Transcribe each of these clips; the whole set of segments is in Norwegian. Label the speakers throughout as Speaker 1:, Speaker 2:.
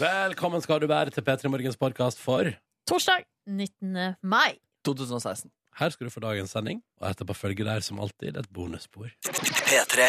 Speaker 1: Velkommen skal du være til P3 Morgens podkast for
Speaker 2: Torsdag 19. mai.
Speaker 3: 2016.
Speaker 1: Her skal du få dagens sending, og etterpå følger der som alltid et bonusspor.
Speaker 4: P3.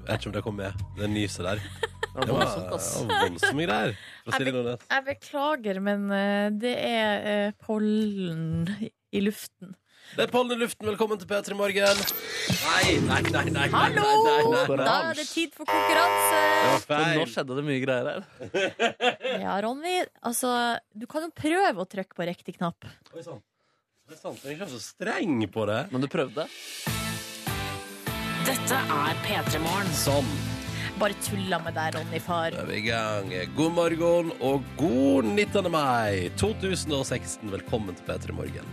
Speaker 1: Jeg vet ikke om det kom med, det nyset der.
Speaker 3: Det
Speaker 1: Det
Speaker 3: var
Speaker 1: var
Speaker 3: voldsomt, ass.
Speaker 1: det var voldsomme greier. For å si det noe nett.
Speaker 2: Jeg beklager, men eh, det er eh, pollen i- i luften.
Speaker 1: Det er pollen i luften, velkommen til P3 Morgen.
Speaker 3: Nei, nei, nei, nei,
Speaker 2: Hallo!
Speaker 3: nei, nei, nei.
Speaker 2: Da er det tid for konkurranse!
Speaker 3: Men nå skjedde det mye greier her.
Speaker 2: Ja, Ronny, altså, du kan jo prøve å trykke på riktig knapp.
Speaker 1: Oi sann. Det er sant, jeg er ikke så streng på det.
Speaker 3: Men du prøvde?
Speaker 5: Dette er P3 Morgen.
Speaker 1: Sånn.
Speaker 2: Bare tulla med deg, Ronny, far.
Speaker 1: Da er vi i gang. God morgen og god 19. mai 2016. Velkommen til P3 Morgen.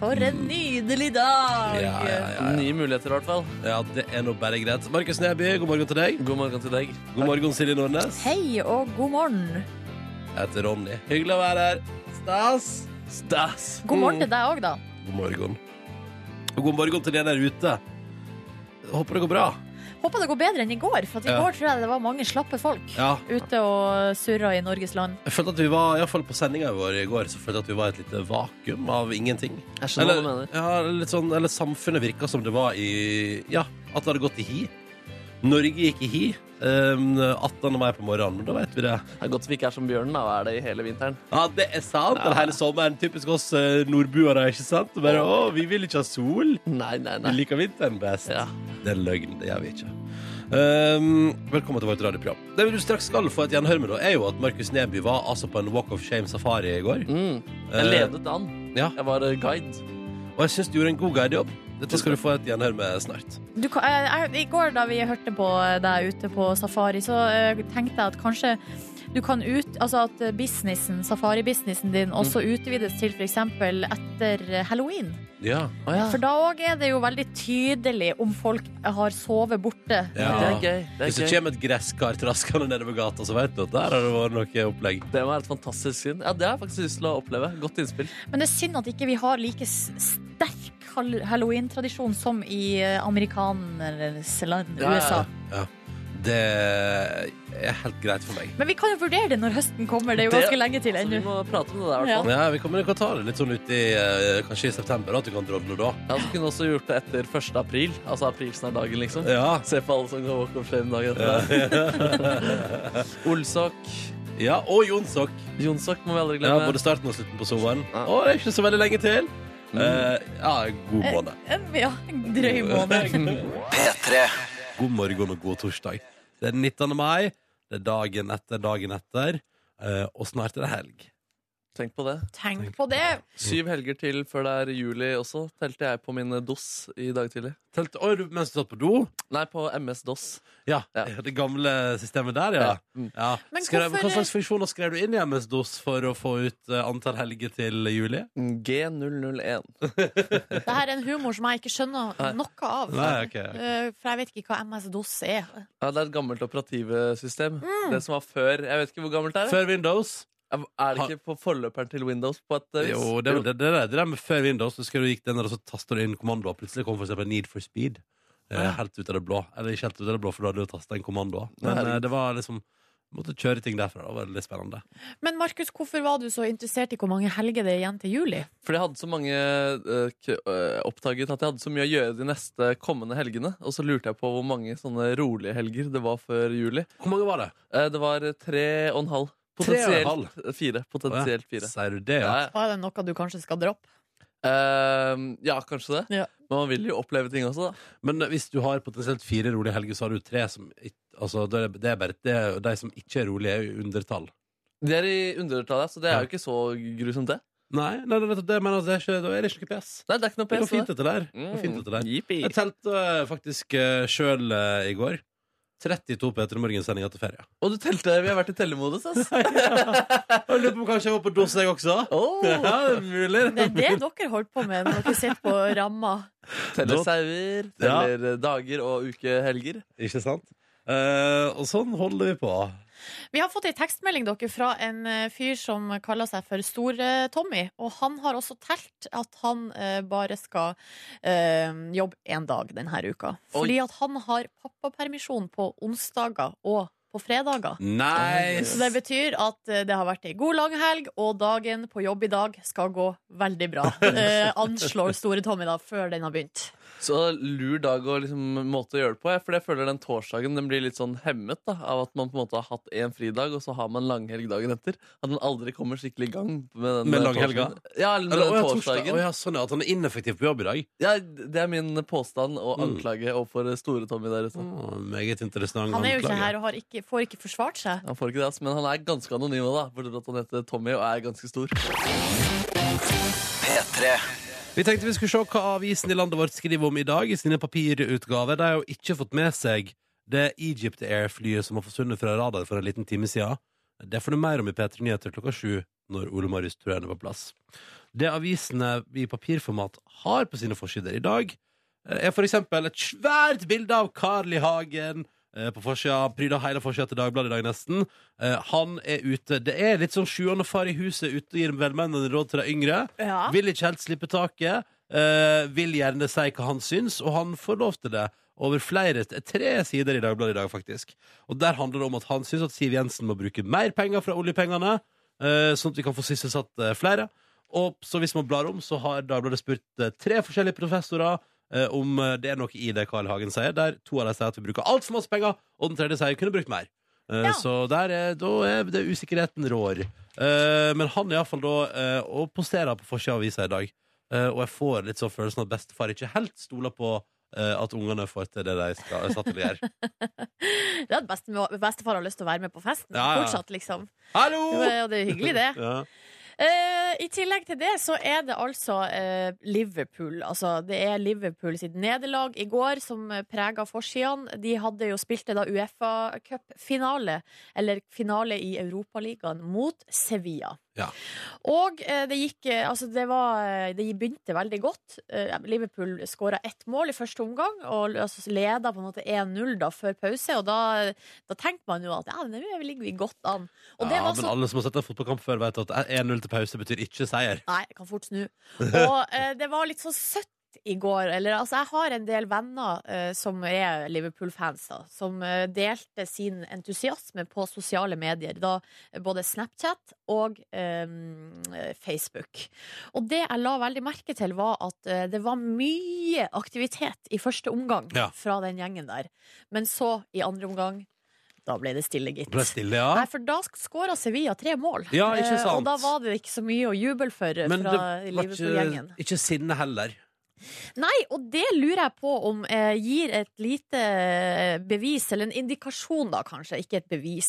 Speaker 2: For en nydelig dag!
Speaker 1: Ja, ja, ja, ja.
Speaker 3: Nye muligheter, i hvert fall.
Speaker 1: ja, det er nå bare greit. Markus Neby, god morgen til deg.
Speaker 3: God morgen til deg.
Speaker 1: God morgen, Silje Nordnes.
Speaker 2: Hei og god morgen.
Speaker 1: Jeg heter Ronny. Hyggelig å være her. Stas.
Speaker 3: Stas!
Speaker 2: God morgen
Speaker 1: Mm.
Speaker 2: til deg òg, da.
Speaker 1: God morgen. Og god morgen til dere der ute. Håper det går bra.
Speaker 2: Håper det går bedre enn i går, for at i
Speaker 1: Ja.
Speaker 2: går tror jeg det var mange slappe folk
Speaker 1: Ja.
Speaker 2: ute og surra i Norges land.
Speaker 1: Jeg følte at vi var, i hvert fall på sendinga vår i går, så følte jeg at vi var i et lite vakuum av ingenting.
Speaker 3: Jeg skjønner
Speaker 1: Eller,
Speaker 3: hva du mener.
Speaker 1: ja, litt sånn, eller samfunnet virka som det var i Ja, at det hadde gått i hi. Norge gikk i hi um, 18. mai på morgenen, men da vet vi det.
Speaker 3: Det er godt vi ikke er som bjørnen, da. og er det i hele vinteren?
Speaker 1: Ja, det er sant. Eller hele sommeren. Typisk oss eh, nordboere, ikke sant? Bare, å, vi vil ikke ha sol.
Speaker 3: Nei, nei,
Speaker 1: Vi
Speaker 3: nei.
Speaker 1: liker vinteren best.
Speaker 3: Ja.
Speaker 1: Det er løgn. Det gjør vi ikke. Um, velkommen til vårt radioprogram. Det du straks skal få et gjenhør med, da, er jo at Markus Neby var altså på en Walk of Shame safari i går.
Speaker 3: Mm.
Speaker 1: Eh,
Speaker 3: Jeg ledet an.
Speaker 1: ja.
Speaker 3: Jeg var eh, guide.
Speaker 1: Og jeg syns du gjorde en god guidejobb. Dette skal du få et gjenhør med snart.
Speaker 2: Du, kan- eh, jeg, jeg, I går da vi hørte på deg ute på safari, så eh, tenkte jeg at kanskje du kan ut, altså at businessen, safari-businessen
Speaker 3: Mm.
Speaker 2: din også utvides til f.eks. etter halloween.
Speaker 1: Ja.
Speaker 3: Å ja.
Speaker 2: For da òg er det jo veldig tydelig om folk har sovet borte.
Speaker 1: Ja.
Speaker 3: Det er gøy. Det
Speaker 1: Hvis det
Speaker 3: er gøy.
Speaker 1: kommer et gresskar traskende nedover gata, så vet du at der har det vært noe opplegg.
Speaker 3: Det var et fantastisk syn. Ja, det har jeg faktisk lyst til å oppleve. Godt innspill.
Speaker 2: Men det er synd at ikke vi har like s- sterk hall- halloween-tradisjon som i eh, amerikanernes land,
Speaker 3: Ja, ja, ja.
Speaker 2: USA.
Speaker 1: Det er helt greit for meg.
Speaker 2: Men vi kan jo vurdere det når høsten kommer. Det er jo
Speaker 3: Det-
Speaker 2: ganske lenge til
Speaker 3: Så vi
Speaker 2: ennå.
Speaker 3: må prate om det der, i hvert fall.
Speaker 1: Ja, vi kommer til å ta det litt sånn ut i eh, kanskje i september, at du kan drodle da.
Speaker 3: Ja, så kunne vi også gjort det etter 1. april. Altså aprilsnardagen, liksom.
Speaker 1: Ja.
Speaker 3: Se på alle som går walk of shame dagen etter. Olsok.
Speaker 1: ja og Jonsok.
Speaker 3: Jonsok må vi aldri
Speaker 1: Ja,
Speaker 3: glemme.
Speaker 1: både starten og slutten på sommeren.
Speaker 3: Ja.
Speaker 1: Og det er ikke så veldig lenge til. Eh, ja, god måned.
Speaker 2: En- Ja, en drøy måned.
Speaker 4: P3.
Speaker 1: God morgen og god torsdag. Det er 19. mai. Det er dagen etter dagen etter. eh, og snart er det helg.
Speaker 3: Tenk på det.
Speaker 2: Tenk på det.
Speaker 3: Syv helger til før det er juli også, telte jeg på min DOS i dag tidlig.
Speaker 1: Telt, oi, du, mens du satt på do?
Speaker 3: Nei, på MS-DOS.
Speaker 1: Ja,
Speaker 3: Ja.
Speaker 1: Det gamle systemet der, ja.
Speaker 3: Ja. Mm.
Speaker 1: ja.
Speaker 2: Men
Speaker 1: Skrev,
Speaker 2: hvorfor-
Speaker 1: hva slags funksjoner skrev du inn i MS-DOS for å få ut eh, antall helger til juli?
Speaker 3: G001.
Speaker 2: Dette er en humor som jeg ikke skjønner noe av.
Speaker 1: Nei, ok.
Speaker 2: Eh, For jeg vet ikke hva MS-DOS er.
Speaker 3: Ja, det er et gammelt operativsystem. Det som var før Jeg vet ikke hvor gammelt det er.
Speaker 1: Før Windows?
Speaker 3: Er det ikke på forløperen til Windows? På et eh, vis?
Speaker 1: Jo, det, det, det, det der med før Windows, husker du gikk den der og så tastet du inn kommando, og plutselig kom for eksempel Need for Speed. eh,
Speaker 3: Ja.
Speaker 1: Helt ut av det blå. Eller ikke helt ut av det blå, for da hadde du tastet en kommando. Men
Speaker 3: Herregud.
Speaker 1: eh, det var liksom Måtte kjøre ting derfra. Det var veldig spennende.
Speaker 2: Men Markus, hvorfor var du så interessert i hvor mange helger det er igjen til juli?
Speaker 3: Fordi jeg hadde så mange eh, k eh, oppdaget at jeg hadde så mye å gjøre de neste kommende helgene. Og så lurte jeg på hvor mange sånne rolige helger det var før juli.
Speaker 1: Hvor mange var det?
Speaker 3: Eh, det var tre og en halv.
Speaker 1: Tre og en halv?
Speaker 3: Potensielt fire. Potensielt
Speaker 1: Å ja.
Speaker 3: fire.
Speaker 1: Sier du det, ja?
Speaker 3: Ja, ja.
Speaker 2: Er det noe du kanskje skal droppe?
Speaker 3: Eh, ja, kanskje det.
Speaker 2: Ja.
Speaker 3: Men man vil jo oppleve ting også, da.
Speaker 1: Men eh, hvis du har potensielt fire rolige helger, så har du tre som ikke- altså, da er det- Det er bare det, er- de som ikke er rolige, er jo undertall.
Speaker 3: Det er i undertallet, så det er jo ikke så grusomt, det.
Speaker 1: Nei, nei, nei nettopp det, men altså, det er ikke, da er det ikke noe PS.
Speaker 3: Nei, det er ikke noe
Speaker 1: Det går
Speaker 3: PS.
Speaker 1: fint
Speaker 3: det.
Speaker 1: etter der. Det
Speaker 3: Mm,
Speaker 1: går fint etter der.
Speaker 3: Jippi.
Speaker 1: Jeg telte faktisk uh, sjøl i går. 32 P3 Morgen-sendinger til ferie.
Speaker 3: Og du telte, vi har vært i tellemodus, ass.
Speaker 1: Og Jeg lurer på om kanskje jeg var på dos, jeg også.
Speaker 3: Oh,
Speaker 1: Ja, det er mulig.
Speaker 2: Det er det dere holdt på med når dere sitter på ramma.
Speaker 3: teller sauer, teller eh, dager og ukehelger.
Speaker 1: Ikke sant? Eh, og sånn holder vi på.
Speaker 2: Vi har fått ei tekstmelding dere fra en eh, fyr som kaller seg for Store-Tommy. Og han har også telt at han eh, bare skal eh, jobbe én dag denne uka.
Speaker 6: Oi.
Speaker 2: Fordi at han har pappapermisjon på onsdager og på fredager.
Speaker 3: Nice!
Speaker 2: Så det betyr at eh, det har vært ei god langhelg, og dagen på jobb i dag skal gå veldig bra. Eh, anslår Store Tommy da, før den har begynt.
Speaker 6: Så lur dag og liksom måte å gjøre det på. Jeg, for jeg føler den torsdagen den blir litt sånn hemmet da, av at man på en måte har hatt én fridag, og så har man langhelg dagen etter. At man aldri kommer skikkelig i gang med den
Speaker 1: Med
Speaker 6: eh,
Speaker 1: langhelga?
Speaker 6: torsdagen. Ja, eller med
Speaker 1: Eller,
Speaker 6: den
Speaker 1: åja, torsdag.
Speaker 6: torsdagen.
Speaker 1: Åja, sånn ja, at han er ineffektiv på jobb i dag.
Speaker 6: Ja, det er min påstand og
Speaker 1: Mm.
Speaker 6: anklage overfor Store-Tommy der ute.
Speaker 1: Å, meget interessant.
Speaker 2: Han er jo ikke
Speaker 1: anklage.
Speaker 2: her og har ikke, får ikke forsvart seg.
Speaker 6: Han får ikke det, ass, men han er ganske anonym, da, bortsett fra at han heter Tommy og er ganske stor.
Speaker 4: P3
Speaker 1: Vi tenkte vi skulle se hva avisen i landet vårt skriver om i dag i sine papirutgaver. De har jo ikke fått med seg det Egypt Air-flyet som har forsvunnet fra radar for en liten time siden. Det får du mer om i P3 Nyheter klokka sju når Ole Marius Trøen er på plass. Det avisene i papirformat har på sine forsider i dag, eh, er for eksempel et svært bilde av Carl I. Hagen eh, på forsida, pryda hele forsida til Dagbladet i dag nesten. Eh, Han er ute. Det er litt sånn sjuende far i huset ute og gir velmenende råd til de yngre.
Speaker 2: Ja.
Speaker 1: Vil ikke helt slippe taket. eh, vil gjerne si hva han syns, og han får lov til det. Over flere, tre sider i Dagbladet i dag, faktisk. Og der handler det om at han syns at Siv Jensen må bruke mer penger fra oljepengene, eh, sånn at vi kan få sysselsatt eh, flere. Og så hvis man blar om, så har Dagbladet spurt eh, tre forskjellige professorer eh, om eh, det er noe i det Carl Hagen sier, der to av dem sier at vi bruker altfor masse penger, og den tredje sier vi kunne brukt mer. Eh,
Speaker 2: Ja.
Speaker 1: Så der er, da er det usikkerheten rår. Eh, men han er iallfall da eh, og posterer på forsida av avisa i dag. Eh, og jeg får litt sånn følelsen av at bestefar ikke helt stoler på eh, at ungene får til det de skal. satt til å gjøre.
Speaker 2: Det er at bestemor- bestefar har lyst til å være med på festen.
Speaker 1: Ja, ja.
Speaker 2: Fortsatt, liksom.
Speaker 1: Hallo!
Speaker 2: Det var- Og det er hyggelig, det.
Speaker 1: Ja.
Speaker 2: Eh, I tillegg til det så er det altså eh, Liverpool. Altså, det er Liverpool sitt nederlag i går som eh, prega forsidene. De hadde jo spilte da Uefa-cupfinale, eller finale i Europaligaen, mot Sevilla.
Speaker 1: Ja.
Speaker 2: Og eh, det gikk eh, Altså, det var eh, Det begynte veldig godt. Eh, Liverpool skåra ett mål i første omgang, og altså, leda på en måte 1-0 da før pause, og da, da tenkte man jo at ja, nå ligger vi godt an. Og det
Speaker 1: ja,
Speaker 2: var
Speaker 1: men
Speaker 2: så
Speaker 1: alle som har sett en fotballkamp før, vet at 1-0 til pause betyr ikke seier.
Speaker 2: Nei, jeg kan fort snu. Og eh, det var litt sånn søtt i går. Eller, altså, jeg har en del venner eh, som er Liverpool-fans, da, som eh, delte sin entusiasme på sosiale medier. Da, eh, både Snapchat og eh, Facebook. Og det jeg la veldig merke til, var at eh, det var mye aktivitet i første omgang
Speaker 1: Ja.
Speaker 2: fra den gjengen der. Men så, i andre omgang, da ble det stille, gitt.
Speaker 1: Det ble stille, ja.
Speaker 2: Nei, for da skåra Sevilla tre mål.
Speaker 1: Ja, ikke
Speaker 2: Eh,
Speaker 1: sant.
Speaker 2: Og da var det ikke så mye å juble for eh,
Speaker 1: Men det
Speaker 2: fra
Speaker 1: var ikke,
Speaker 2: Liverpool-gjengen.
Speaker 1: ikke sinne heller.
Speaker 2: Nei, og det lurer jeg på om eh, gir et lite eh, bevis, eller en indikasjon da kanskje, ikke et bevis,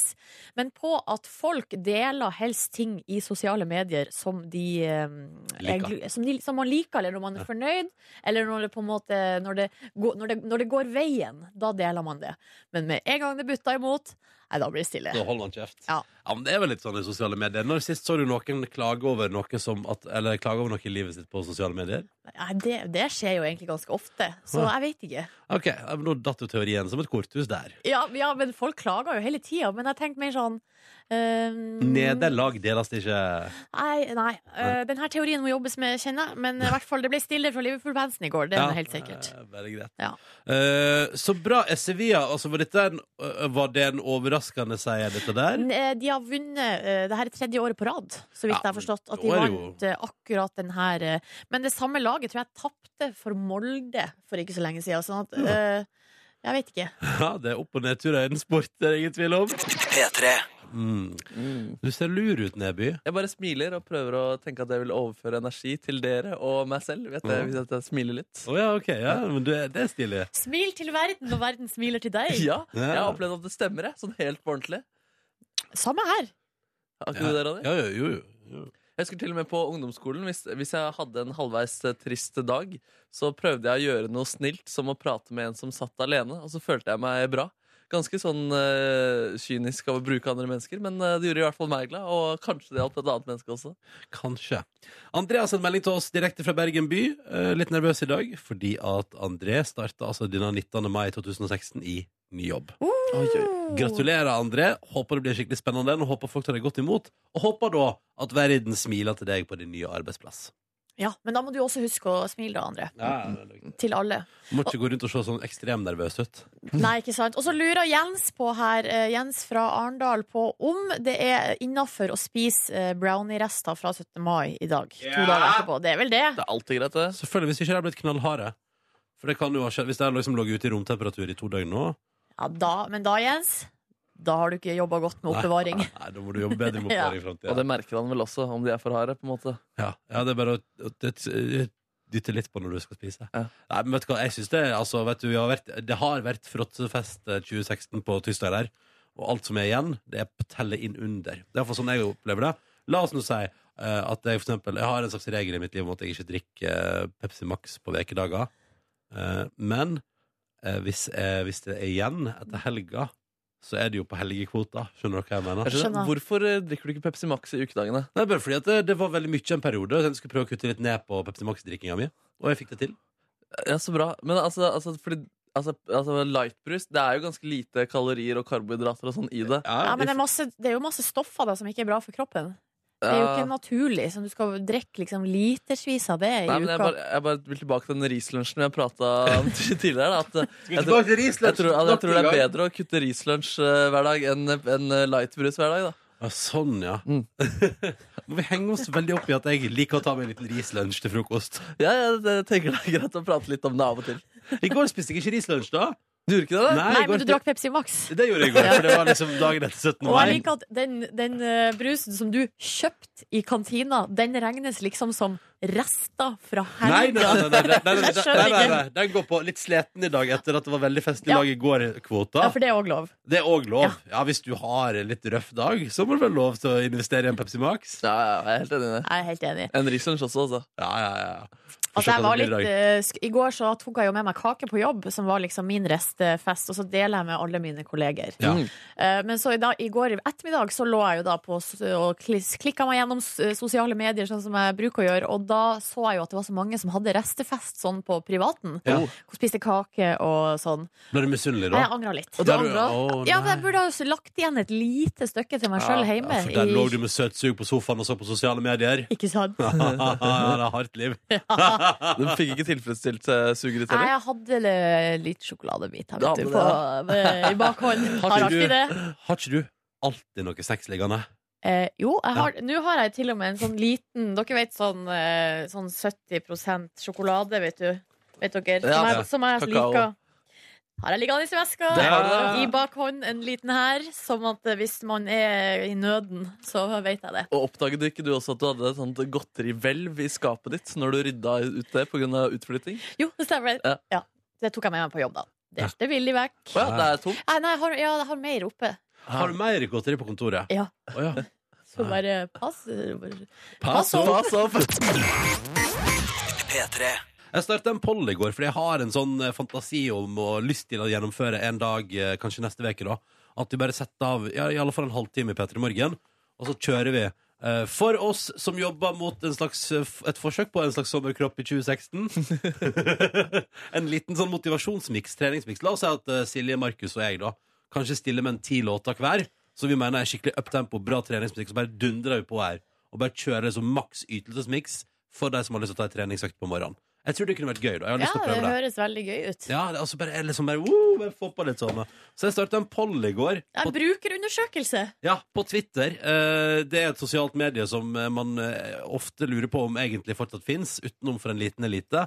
Speaker 2: men på at folk deler helst ting i sosiale medier som de eh, er
Speaker 1: Liker.
Speaker 2: glu- som, de, som man liker, eller når man er fornøyd, eller når det på en måte når det, går- når det, når det går veien, da deler man det. Men med en gang det butter imot, nei, da blir det stille.
Speaker 1: Da holder man kjeft.
Speaker 2: Ja.
Speaker 1: men Det er vel litt sånn i sosiale medier. Når sist så du noen klage over noe, som at, eller klage over noe i livet sitt på sosiale medier?
Speaker 2: Nei, det, det skjer jo egentlig ganske ofte, så
Speaker 1: Ja.
Speaker 2: jeg vet ikke.
Speaker 1: Ok, ja, men Nå datt jo teorien som et korthus der.
Speaker 2: Ja, ja men folk klager jo hele tida. Men jeg tenker mer sånn ehm,
Speaker 1: Mm. Nederlag deles det ikke
Speaker 2: Nei, nei. eh, den her teorien må jobbes med, kjenner jeg. Men i hvert fall, det ble stille fra Liverpool-fansen i går. Det er
Speaker 1: Ja,
Speaker 2: helt sikkert.
Speaker 1: eh, Veldig greit.
Speaker 2: Ja.
Speaker 1: Eh, så bra. Er Sevilla altså var, dette en, eh, var det en overraskende seier, dette der?
Speaker 2: Men, eh, De har vunnet eh, det her er tredje året på rad, så vidt
Speaker 1: Ja,
Speaker 2: jeg har forstått. At de
Speaker 1: da er det jo-
Speaker 2: vant eh, akkurat den her eh, Men det samme laget tror jeg tapte for Molde for ikke så lenge siden. Sånn at eh, Jeg vet ikke.
Speaker 1: Ja, det er opp- og nedtur i en sport, det er ingen tvil om.
Speaker 4: P3
Speaker 1: Mm. Du ser lur ut, Neby.
Speaker 6: Jeg bare smiler og prøver å tenke at jeg vil overføre energi til dere og meg selv. Vet jeg,
Speaker 1: Mhm.
Speaker 6: hvis jeg smiler litt.
Speaker 1: Å ja, OK. Ja, men du, er- det er stilig.
Speaker 2: Smil til verden, og verden smiler til deg.
Speaker 6: Ja, jeg har
Speaker 1: Ja.
Speaker 6: opplevd at det stemmer, jeg. Sånn helt på ordentlig.
Speaker 2: Samme her.
Speaker 6: Har ikke du det, Ronny?
Speaker 1: Ja, jo, jo, jo.
Speaker 6: Jeg husker til og med på ungdomsskolen hvis, hvis jeg hadde en halvveis eh, trist dag, så prøvde jeg å gjøre noe snilt, som å prate med en som satt alene, og så følte jeg meg bra. Ganske sånn eh, kynisk av å bruke andre mennesker, men eh, det gjorde i hvert fall meg glad, og kanskje det hjalp et annet menneske også.
Speaker 1: Kanskje. André har sendt melding til oss direkte fra Bergen by. Eh, litt nervøs i dag, fordi at André starta altså denne 19. mai 2016 i ny jobb.
Speaker 2: Oh.
Speaker 6: Oi, oi.
Speaker 1: Gratulerer, André. Håper det blir skikkelig spennende. Og håper folk tar deg godt imot. Og håper da at verden smiler til deg på din nye arbeidsplass.
Speaker 2: Ja, men da må du også huske å smile, da, André. Til alle.
Speaker 1: Må ikke gå rundt og se sånn ekstremt nervøs ut.
Speaker 2: Nei, ikke sant. Og så lurer Jens på her, eh, Jens fra Arendal, på om det er innafor å spise eh, brownie-rester fra 17. mai i dag. To dager etterpå. Det er vel det?
Speaker 6: Det er alltid greit, det.
Speaker 1: Selvfølgelig hvis ikke de er blitt knallharde. For det kan jo ha skjedd Hvis de har liksom ligget ute i romtemperatur i to døgn nå
Speaker 2: Ja, da, men da, Jens, da har du ikke jobba godt med
Speaker 1: Nei.
Speaker 2: oppbevaring.
Speaker 1: Nei, da må du jobbe bedre med
Speaker 2: Ja.
Speaker 1: opplæring i
Speaker 6: Og
Speaker 1: framtida.
Speaker 6: det merker han vel også, om de er for harde. på en måte
Speaker 1: Ja. ja, det er bare å å dytte- dytte litt på når du skal spise.
Speaker 6: Ja.
Speaker 1: Nei, men vet du hva, jeg synes det altså, vet du, vi har vært, Det har vært fråtsefest eh, 2016 på Tysdal her, og alt som er igjen, det er på tellet inn under. Det er for sånn jeg opplever det. La oss nå si eh, at jeg for eksempel Jeg har en slags regel i mitt liv om at jeg ikke drikker eh, Pepsi Max på vekedager. Eh, men eh, hvis, eh, hvis det er igjen etter helga, så er det jo på helgekvota. Skjønner dere hva jeg mener?
Speaker 6: Jeg skjønner.
Speaker 2: Skjønner.
Speaker 6: Hvorfor eh, drikker du ikke Pepsi Max i ukedagene?
Speaker 1: Nei, bare fordi at eh, det, det var veldig mye en periode. Så jeg skulle prøve å kutte litt ned på Pepsi Max-drikkinga mi. Og jeg fikk det til.
Speaker 6: Ja, så bra. Men altså, altså, fordi, altså, altså lightbrus Det er jo ganske lite kalorier og karbohydrater og sånn i det.
Speaker 2: Ja, men det er, masse, det er jo masse stoffer da, som ikke er bra for kroppen. Det er jo
Speaker 6: Ja.
Speaker 2: ikke naturlig. Så du skal drikke liksom litersvis av det i
Speaker 6: Nei, men
Speaker 2: uka.
Speaker 6: jeg bare, jeg bare vil tilbake til den rislunsjen jeg prata om tidligere. Da, at eh, jeg, tror,
Speaker 1: til
Speaker 6: jeg, tror, jeg, tror det er bedre å kutte rislunsj eh, hver dag enn enn, eh, lightbrus hver dag. Da.
Speaker 1: Ja, sånn, ja.
Speaker 6: Mm.
Speaker 1: Må vi henge oss veldig opp i at jeg liker å ta meg en liten rislunsj til frokost.
Speaker 6: Ja, jeg, jeg tenker det er greit å prate litt om det av og til.
Speaker 1: I går spiste jeg ikke rislunsj, da.
Speaker 6: Du gjorde ikke det? da?
Speaker 2: Nei,
Speaker 1: i går
Speaker 2: men du
Speaker 1: spi-
Speaker 2: drakk Pepsi Max.
Speaker 1: Det gjorde jeg i går, for det var liksom dagen etter 17.
Speaker 2: Og jeg
Speaker 1: mai.
Speaker 2: liker at den, den eh, brusen som du kjøpte i kantina, den regnes liksom som rester fra
Speaker 1: Nei, nei,
Speaker 2: helga.
Speaker 1: nei, nei, nei, nei, nei,
Speaker 2: Jeg skjønner
Speaker 1: nei, nei, nei.
Speaker 2: ikke.
Speaker 1: Den går på litt sliten i dag etter at det var veldig festlig lag i går-kvota.
Speaker 2: Ja, for det er òg lov.
Speaker 1: Det er òg lov. Ja, Hvis du har en litt røff dag, så må du vel lov til å investere i en Pepsi Max.
Speaker 6: Ja, ja, jeg er helt enig i det.
Speaker 2: Jeg er helt enig.
Speaker 6: En rislunsj også, altså.
Speaker 1: Ja, ja, ja. Får
Speaker 2: Altså,
Speaker 1: se
Speaker 2: jeg
Speaker 1: hva
Speaker 2: var
Speaker 1: det
Speaker 2: litt,
Speaker 1: blir i dag.
Speaker 2: eh, sk- I går så tok jeg jo med meg kake på jobb, som var liksom min restefest, og så deler jeg med alle mine kolleger.
Speaker 1: Ja.
Speaker 6: Mm.
Speaker 2: Eh, Men så i, dag, i går ettermiddag så lå jeg jo da på s- og klis- klikka meg gjennom s- sosiale medier, sånn som jeg bruker å gjøre, og da så jeg jo at det var så mange som hadde restefest sånn på privaten.
Speaker 1: Ja.
Speaker 2: Og Spiste kake og sånn.
Speaker 1: Ble du misunnelig,
Speaker 2: Nei,
Speaker 1: da?
Speaker 2: Jeg angra litt.
Speaker 6: Og du
Speaker 1: Der du-
Speaker 6: angra?
Speaker 1: Å,
Speaker 2: Ja, men jeg
Speaker 1: nei.
Speaker 2: burde ha s- lagt igjen et lite stykke til meg sjøl
Speaker 6: Ja,
Speaker 2: hjemme.
Speaker 1: Ja, for der
Speaker 2: i-
Speaker 1: lå du med søtsug på sofaen og så på sosiale medier.
Speaker 2: Ikke sant?
Speaker 1: Ja, det er hardt liv.
Speaker 6: Du fikk ikke tilfredsstilt uh, suget ditt
Speaker 2: Nei,
Speaker 6: heller?
Speaker 2: jeg hadde le- litt sjokoladebit her,
Speaker 6: Du
Speaker 2: vet du,
Speaker 6: hadde
Speaker 2: på, eh, i bakhånd. Har
Speaker 1: ikke du-
Speaker 2: alltid det.
Speaker 1: Har ikke du alltid noe sex liggende?
Speaker 2: Eh, jo, jeg har, nå har jeg til og med en sånn liten Dere vet sånn, eh, sånn 70 sjokolade, vet du. Vet dere? Som
Speaker 6: Ja,
Speaker 2: jeg, som jeg
Speaker 6: kakao.
Speaker 2: liker. Har jeg liggende i veska.
Speaker 6: Det har du.
Speaker 2: I bakhånd en liten her, som at eh, hvis man er i nøden, så vet jeg det.
Speaker 6: Og oppdaget ikke du også at du hadde et sånt godterihvelv i skapet ditt når du rydda ut det pga. utflytting?
Speaker 2: Jo, det stemmer. det.
Speaker 6: Ja.
Speaker 2: Ja. Det tok jeg med meg på jobb, da. Det er ikke villig vekk.
Speaker 6: Å ja, det er tomt.
Speaker 2: Nei, nei jeg, har, ja, jeg har mer oppe.
Speaker 1: Har du mer godteri på kontoret?
Speaker 2: Ja.
Speaker 1: Å, ja.
Speaker 2: Så bare pass.
Speaker 1: Pass
Speaker 2: Pass
Speaker 1: opp!
Speaker 2: opp.
Speaker 6: Pass opp!
Speaker 4: P3.
Speaker 1: Jeg startet en poll i går, fordi jeg har en sånn eh, fantasi om og lyst til å gjennomføre en dag, eh, kanskje neste veke da, at vi bare setter av ja, i alle fall en halvtime i Petter i morgen, og så kjører vi. Eh, For oss som jobber mot en slags, eh, f- et forsøk på en slags sommerkropp i 2016 En liten sånn motivasjonsmiks, treningsmiks La oss si at eh, Silje, Markus og jeg da Kanskje stiller med en ti låter hver Som vi mener er skikkelig uptempo, bra treningsmiks Så bare dundrer vi på her Og bare kjører liksom maks ytelsesmiks For de som har lyst til å ta en treningsøkt på morgenen Jeg tror det kunne vært gøy da, jeg har
Speaker 2: Ja,
Speaker 1: lyst til å
Speaker 2: det
Speaker 1: prøve det
Speaker 2: høres veldig gøy ut.
Speaker 1: Ja, det er altså bare, liksom bare, woo, bare få på litt sånn da. Så jeg startet en poll i går
Speaker 2: Jeg
Speaker 1: på
Speaker 2: bruker undersøkelse.
Speaker 1: ja, på Twitter. Eh, Det er et sosialt medie som eh, man eh, ofte lurer på om egentlig fortsatt fins, utenom for en liten elite.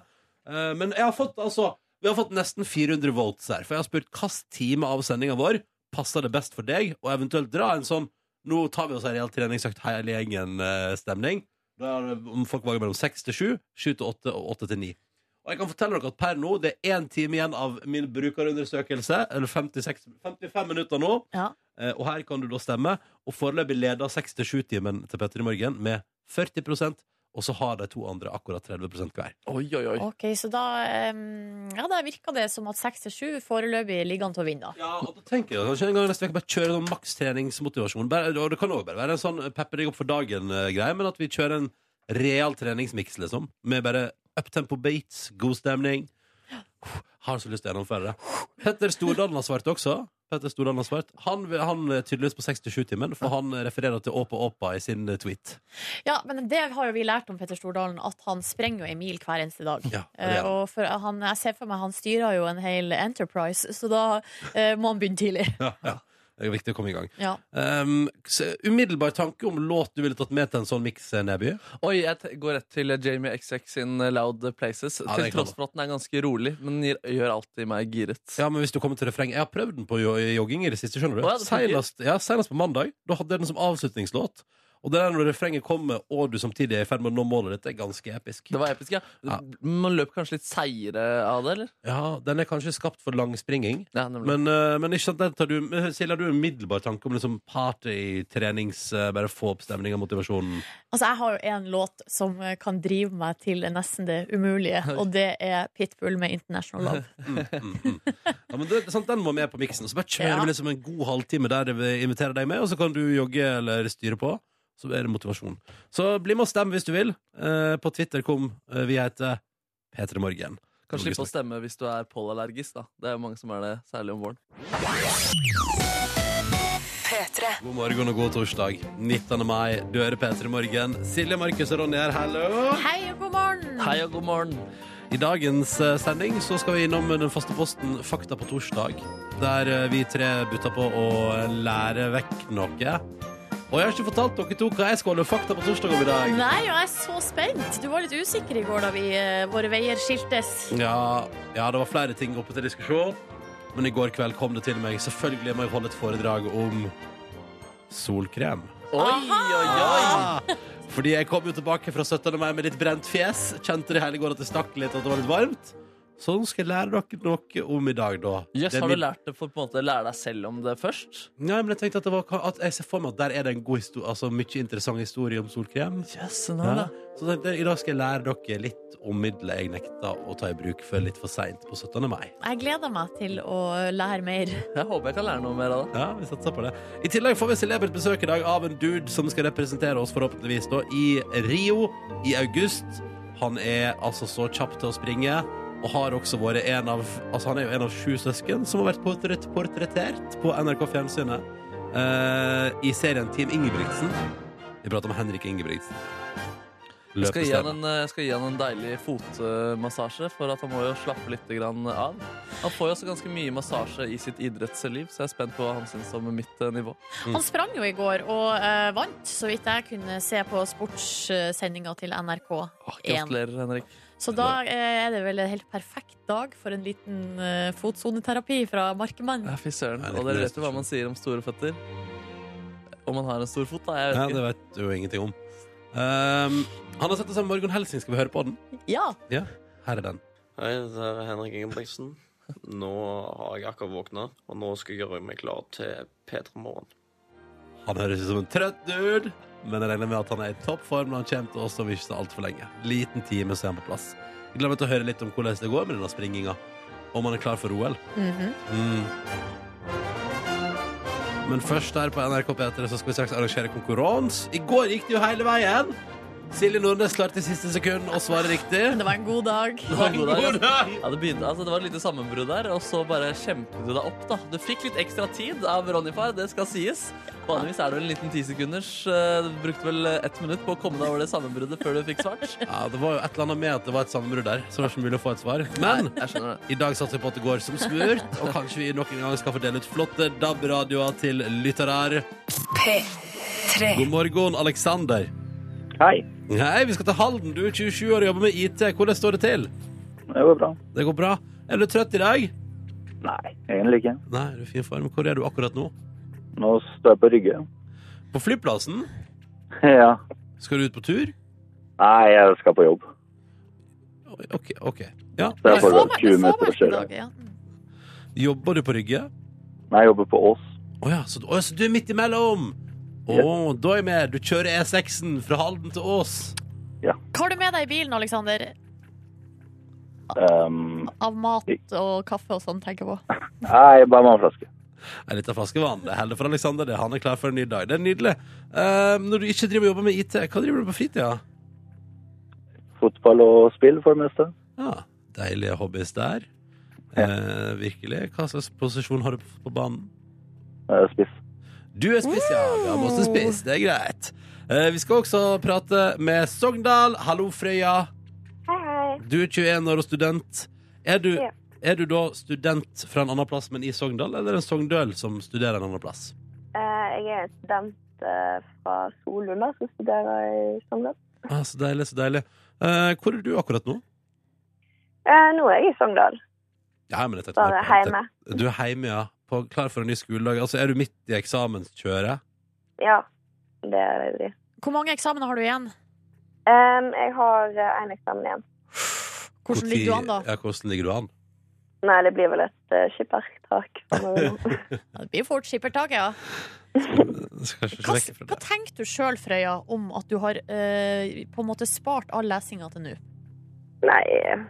Speaker 1: Eh, Men jeg har fått, altså, vi har fått nesten 400 votes her, for jeg har spurt hvilken time av sendinga vår passer det best for deg, og eventuelt dra en sånn nå tar vi oss en reell treningsøkt hele gjengen-stemning. Da er det om folk var mellom seks til sju, sju til åtte og åtte til ni. Og jeg kan fortelle dere at per nå, det er én time igjen av min brukerundersøkelse, eller 56, 55 minutter nå.
Speaker 2: Ja.
Speaker 1: Eh, Og her kan du da stemme. Og foreløpig leder 6-7-timen til Petter i morgen med 40 og så har de to andre akkurat 30 hver.
Speaker 6: Oi, oi, oi.
Speaker 2: Ok, så da, um, ja, da virka det som at seks til sju foreløpig ligger an til å vinne. da.
Speaker 1: Ja, og da tenker jeg kanskje en gang neste vek bare kjøre sånn makstreningsmotivasjon. Bare- Og det kan òg bare være en sånn pepper deg opp for dagen-greie, men at vi kjører en real treningsmiks, liksom. Med bare uptempo beats, god stemning. Har så lyst til å gjennomføre det. Petter Stordalen har svart også. Petter Stordalen har svart. Han, han er tydeligvis på 67-timen, for han refererer til Åpa Åpa i sin eh, tweet.
Speaker 2: Ja, men det har jo vi lært om Petter Stordalen, at han sprenger jo ei mil hver eneste dag.
Speaker 1: Ja, og det
Speaker 2: Eh,
Speaker 1: er han.
Speaker 2: og for han, jeg ser for meg han styrer jo en hel Enterprise, så da eh, må han begynne tidlig.
Speaker 1: Ja, ja. Det er viktig å komme i gang.
Speaker 2: Ja.
Speaker 1: Um, så umiddelbar tanke om låt du ville tatt med til en sånn miks, Neby?
Speaker 3: Oi, jeg t går rett til Jamie XX sin Loud Places.
Speaker 1: Ja, det
Speaker 3: til
Speaker 1: kan
Speaker 3: tross for at den er ganske rolig, men gir- gjør alltid meg giret.
Speaker 1: Ja, men hvis du kommer til refreng Jeg har prøvd den på jo- jogging i det siste, skjønner du.
Speaker 3: Å, ja, det funker.
Speaker 1: Senest, ja, senest på mandag. Da hadde jeg den som avslutningslåt. Og det er når refrenget kommer, og du samtidig er i ferd med å nå målet ditt, det er ganske episk.
Speaker 3: Det var episk, ja.
Speaker 1: Ja.
Speaker 3: Man løp kanskje litt seire av det, eller?
Speaker 1: Ja, Den er kanskje skapt for langspringing,
Speaker 3: Ja, nemlig.
Speaker 1: men, eh, men ikke sant, den tar du men Silje, har du en umiddelbar tanke om liksom party, trenings, eh, bare få opp stemninga, motivasjonen?
Speaker 2: Altså, jeg har jo en låt som eh, kan drive meg til nesten det umulige, og det er Pitbull med International Love.
Speaker 1: Mm, mm. Ja, men det, sant, Den må med på miksen. og Så bare kjører
Speaker 2: Ja.
Speaker 1: vi liksom en god halvtime der vi inviterer deg med, og så kan du jogge eller styre på. Så er det motivasjon. Så bli med og stem hvis du vil. Eh, på Twitter kom eh, vi heter P3 Morgen.
Speaker 3: Kan
Speaker 1: Rolig
Speaker 3: slippe å stemme hvis du er pollallergisk, da. Det er jo mange som er det, særlig om våren.
Speaker 1: God morgen og god torsdag. 19. mai, du hører P3 Morgen. Silje, Markus og Ronny her, hallo!
Speaker 2: Hei og god morgen!
Speaker 3: Hei og god morgen.
Speaker 1: I dagens eh, sending så skal vi innom den faste posten Fakta på torsdag, der eh, vi tre butter på å lære vekk noe. Og jeg har ikke fortalt dere to hva jeg skal holde fakta på torsdag om i dag.
Speaker 2: Nei, og jeg er så spent. Du var litt usikker i går da vi, eh, våre veier skiltes.
Speaker 1: Ja, ja, det var flere ting oppe til diskusjon. Men i går kveld kom det til meg. Selvfølgelig må jeg holde et foredrag om solkrem.
Speaker 3: Oi, oi, oi!
Speaker 1: Fordi jeg kom jo tilbake fra 17. mai med litt brent fjes. Kjente det hele går at det stakk litt, at det var litt varmt. Så nå skal jeg lære dere noe om i dag, da.
Speaker 3: Jøss,
Speaker 1: Det er
Speaker 3: har du
Speaker 1: min-
Speaker 3: lært det for på en måte å lære deg selv om det først?
Speaker 1: Nei, men jeg tenkte at, det var, at jeg ser for meg at der er det en god historie, altså mye interessant historie om solkrem.
Speaker 3: Yes,
Speaker 1: Ja. Så tenkte jeg, i dag skal jeg lære dere litt om middelet jeg nekta å ta i bruk før litt for seint på 17. mai.
Speaker 2: Jeg gleder meg til å lære mer.
Speaker 3: Jeg håper jeg kan lære noe mer av det.
Speaker 1: Ja, vi satser på det. I tillegg får vi celebert besøk i dag av en dude som skal representere oss forhåpentligvis da i Rio i august. Han er altså så kjapp til å springe, og har også vært en av Altså, han er jo en av sju søsken som har vært portrett, portrettert på NRK Fjernsynet eh, i serien Team Ingebrigtsen. Vi prater om Henrik Ingebrigtsen.
Speaker 3: Jeg skal, gi han
Speaker 1: Løpestjerne.
Speaker 3: en, jeg skal gi han en deilig fotmassasje, for at han må jo slappe litt grann av. Han får jo også ganske mye massasje i sitt idrettsliv, så jeg er spent på hva han syns om mitt eh, nivå.
Speaker 2: Han sprang jo i går og eh, vant, så vidt jeg kunne se på sportssendinga til
Speaker 1: Ah,
Speaker 2: NRK1.
Speaker 3: Gratulerer, Henrik.
Speaker 2: Så da eh, er det vel en helt perfekt dag for en liten eh, fotsoneterapi fra Markemann.
Speaker 3: Ja, fy søren.
Speaker 1: Nei, det er
Speaker 3: Og
Speaker 1: ikke
Speaker 3: dere
Speaker 1: det
Speaker 3: vet jo hva man sier om store føtter? Om man har en stor fot, da? Jeg
Speaker 1: Ja,
Speaker 3: vet
Speaker 1: det
Speaker 3: ikke.
Speaker 1: vet du jo ingenting om. Ehm, han har sett oss med Morgan Helsing. Skal vi høre på den?
Speaker 2: Ja,
Speaker 1: Ja, her er den.
Speaker 7: Hei, det er Henrik Ingebrigtsen. Nå har jeg akkurat våkna, og nå skal jeg gjøre meg klar til P3 Morgen.
Speaker 1: Han høres ut som en trøtt dude, men jeg regner med at han er i toppform når han kommer til oss om ikke så altfor lenge. Liten time, så er han på plass. Jeg gleder meg til å høre litt om hvordan det går med denne springinga. Om han er klar for OL. Mm. Men først her på NRK P3 så skal vi straks arrangere konkurranse. I går gikk det jo hele veien. Silje Nordnes klarte i siste sekund å svare riktig.
Speaker 2: det var en god dag.
Speaker 3: Det var en god dag, ass. Ja, det, begynte, altså, det var et lite sammenbrudd der, og så bare kjempet du deg opp. da Du fikk litt ekstra tid av Ronny-far, det skal sies. Vanligvis er det vel en liten tisekunders. eh, Du brukte vel ett minutt på å komme deg over det sammenbruddet før du fikk svart.
Speaker 1: Ja, det var jo et eller annet med at det var et sammenbrudd der, så det var ikke mulig å få et svar. Men
Speaker 3: Jeg skjønner det.
Speaker 1: I dag satser vi på at det går som smurt, og kanskje vi noen gang skal få dele ut flotte DAB-radioer til lyttere. God morgen, Aleksander.
Speaker 8: Hei.
Speaker 1: Hei, vi skal til Halden. Du er 27 år og jobber med IT. Hvordan står det til?
Speaker 8: Det går bra.
Speaker 1: Det går bra. Er du trøtt i dag?
Speaker 8: Nei, egentlig ikke.
Speaker 1: Nei, du er i fin form. Hvor er du akkurat nå?
Speaker 8: Nå står jeg på Rygge.
Speaker 1: På flyplassen?
Speaker 8: Ja.
Speaker 1: Skal du ut på tur?
Speaker 8: Nei, jeg skal på jobb.
Speaker 1: Oi, OK. ok. Ja.
Speaker 8: Så
Speaker 2: Det
Speaker 8: jeg får
Speaker 2: får
Speaker 8: vel
Speaker 2: man-
Speaker 8: 20
Speaker 2: det får
Speaker 8: minutter
Speaker 2: man ikke
Speaker 8: å
Speaker 2: i
Speaker 8: kjøre.
Speaker 2: dag, ja.
Speaker 1: Jobber du på Rygge?
Speaker 8: Nei, jeg jobber på Ås.
Speaker 1: Å ja, så, å, ja, så du er midt imellom? Å, da er jeg med. Du kjører E6-en fra Halden til Ås.
Speaker 2: Hva har du med deg i bilen, Aleksander?
Speaker 8: Um,
Speaker 2: Av mat og kaffe og sånn, tenker jeg på.
Speaker 8: nei, bare vannflaske.
Speaker 1: En liten flaske vann. Det holder for Alexander. Det. Han er klar for en ny dag. Det er nydelig. Eh, når du ikke driver og jobber med IT, hva driver du på fritida?
Speaker 8: Fotball og spill for det meste.
Speaker 1: Ja, deilige hobbies Ah, der. Eh, virkelig. Hva slags posisjon har du på fotballbanen?
Speaker 8: Eh, Spiss.
Speaker 1: Du er spiss, ja. Vi har masse spiss. Det er greit. Eh, vi skal også prate med Sogndal. Hallo, Frøya.
Speaker 9: Hei, hei.
Speaker 1: Du er 21 år og student. Er du,
Speaker 9: Ja.
Speaker 1: er du da student fra en annen plass, men i Sogndal, eller er det en sogndøl som studerer en annen plass?
Speaker 9: Eh, jeg er student eh, fra Solund, da, som studerer i Sogndal.
Speaker 1: Ah, så deilig, så deilig. Eh, hvor er du akkurat nå?
Speaker 9: Eh, nå er jeg i Sogndal,
Speaker 1: Ja, men jeg tenkte
Speaker 9: bare
Speaker 1: mer på-
Speaker 9: hjemme.
Speaker 1: Du er hjemme, ja. På, klar for en ny skoledag. Altså, er du midt i eksamenskjøret?
Speaker 9: Ja, det er veldig.
Speaker 2: Hvor mange eksamener har du igjen?
Speaker 9: Um, jeg har én eksamen igjen.
Speaker 1: Hvor
Speaker 2: Hvordan
Speaker 1: tid-
Speaker 2: ligger du an, da?
Speaker 1: Ja, hvordan ligger du an?
Speaker 9: Nei, det blir vel et uh, skippertak.
Speaker 2: Ja, Det blir fort skippertak, ja.
Speaker 1: Skal kanskje ikke
Speaker 2: Hva,
Speaker 1: vekke fra
Speaker 2: hva
Speaker 1: det.
Speaker 2: tenker du sjøl, Frøya, om at du har eh, på en måte spart all lesinga til nå?
Speaker 9: Nei,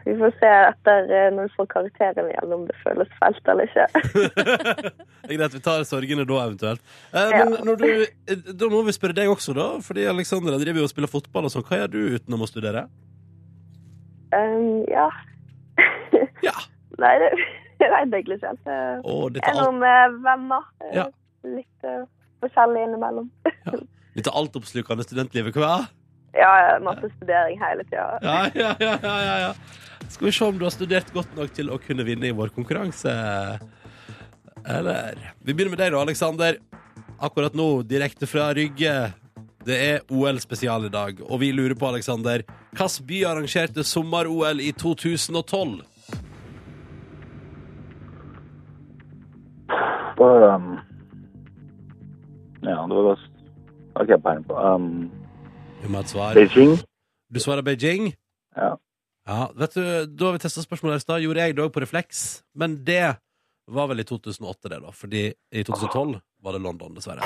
Speaker 9: vi får se etter eh, når vi får karakteren igjen, om det føles fælt eller ikke.
Speaker 1: Det er greit, vi tar sorgene da, eventuelt. Eh, men
Speaker 9: Ja.
Speaker 1: når du, eh, da må vi spørre deg også, da. Fordi Alexandra driver jo og spiller fotball og sånn. Hva gjør du utenom å studere?
Speaker 9: Um, ja.
Speaker 1: Ja.
Speaker 9: Nei, det jeg vet egentlig ikke helt. Det
Speaker 1: Å, dette
Speaker 9: er
Speaker 1: er alt,
Speaker 9: noe med venner. eh,
Speaker 1: Ja.
Speaker 9: Litt eh, forskjellig innimellom.
Speaker 1: dette er altoppslukende studentlivet, hva?
Speaker 9: Ja, masse studering hele tida.
Speaker 1: Ja, ja, ja, ja, ja, ja. Skal vi se om du har studert godt nok til å kunne vinne i vår konkurranse. Eller Vi begynner med deg, da, Aleksander. Akkurat nå, direkte fra Rygge. Det er OL-spesial i dag, og vi lurer på, Aleksander, hvilken by arrangerte sommer-OL i 2012?
Speaker 8: På, um, ja, det var godt. Ok, peiling på. Um,
Speaker 1: Vi må ha et svar.
Speaker 8: Beijing.
Speaker 1: Du svarer Beijing?
Speaker 8: Ja.
Speaker 1: Ja, vet du, Da vi testa spørsmålet her i stad, gjorde jeg det òg på refleks. Men det var vel i 2008, det, da. Fordi i 2012 var det London, dessverre.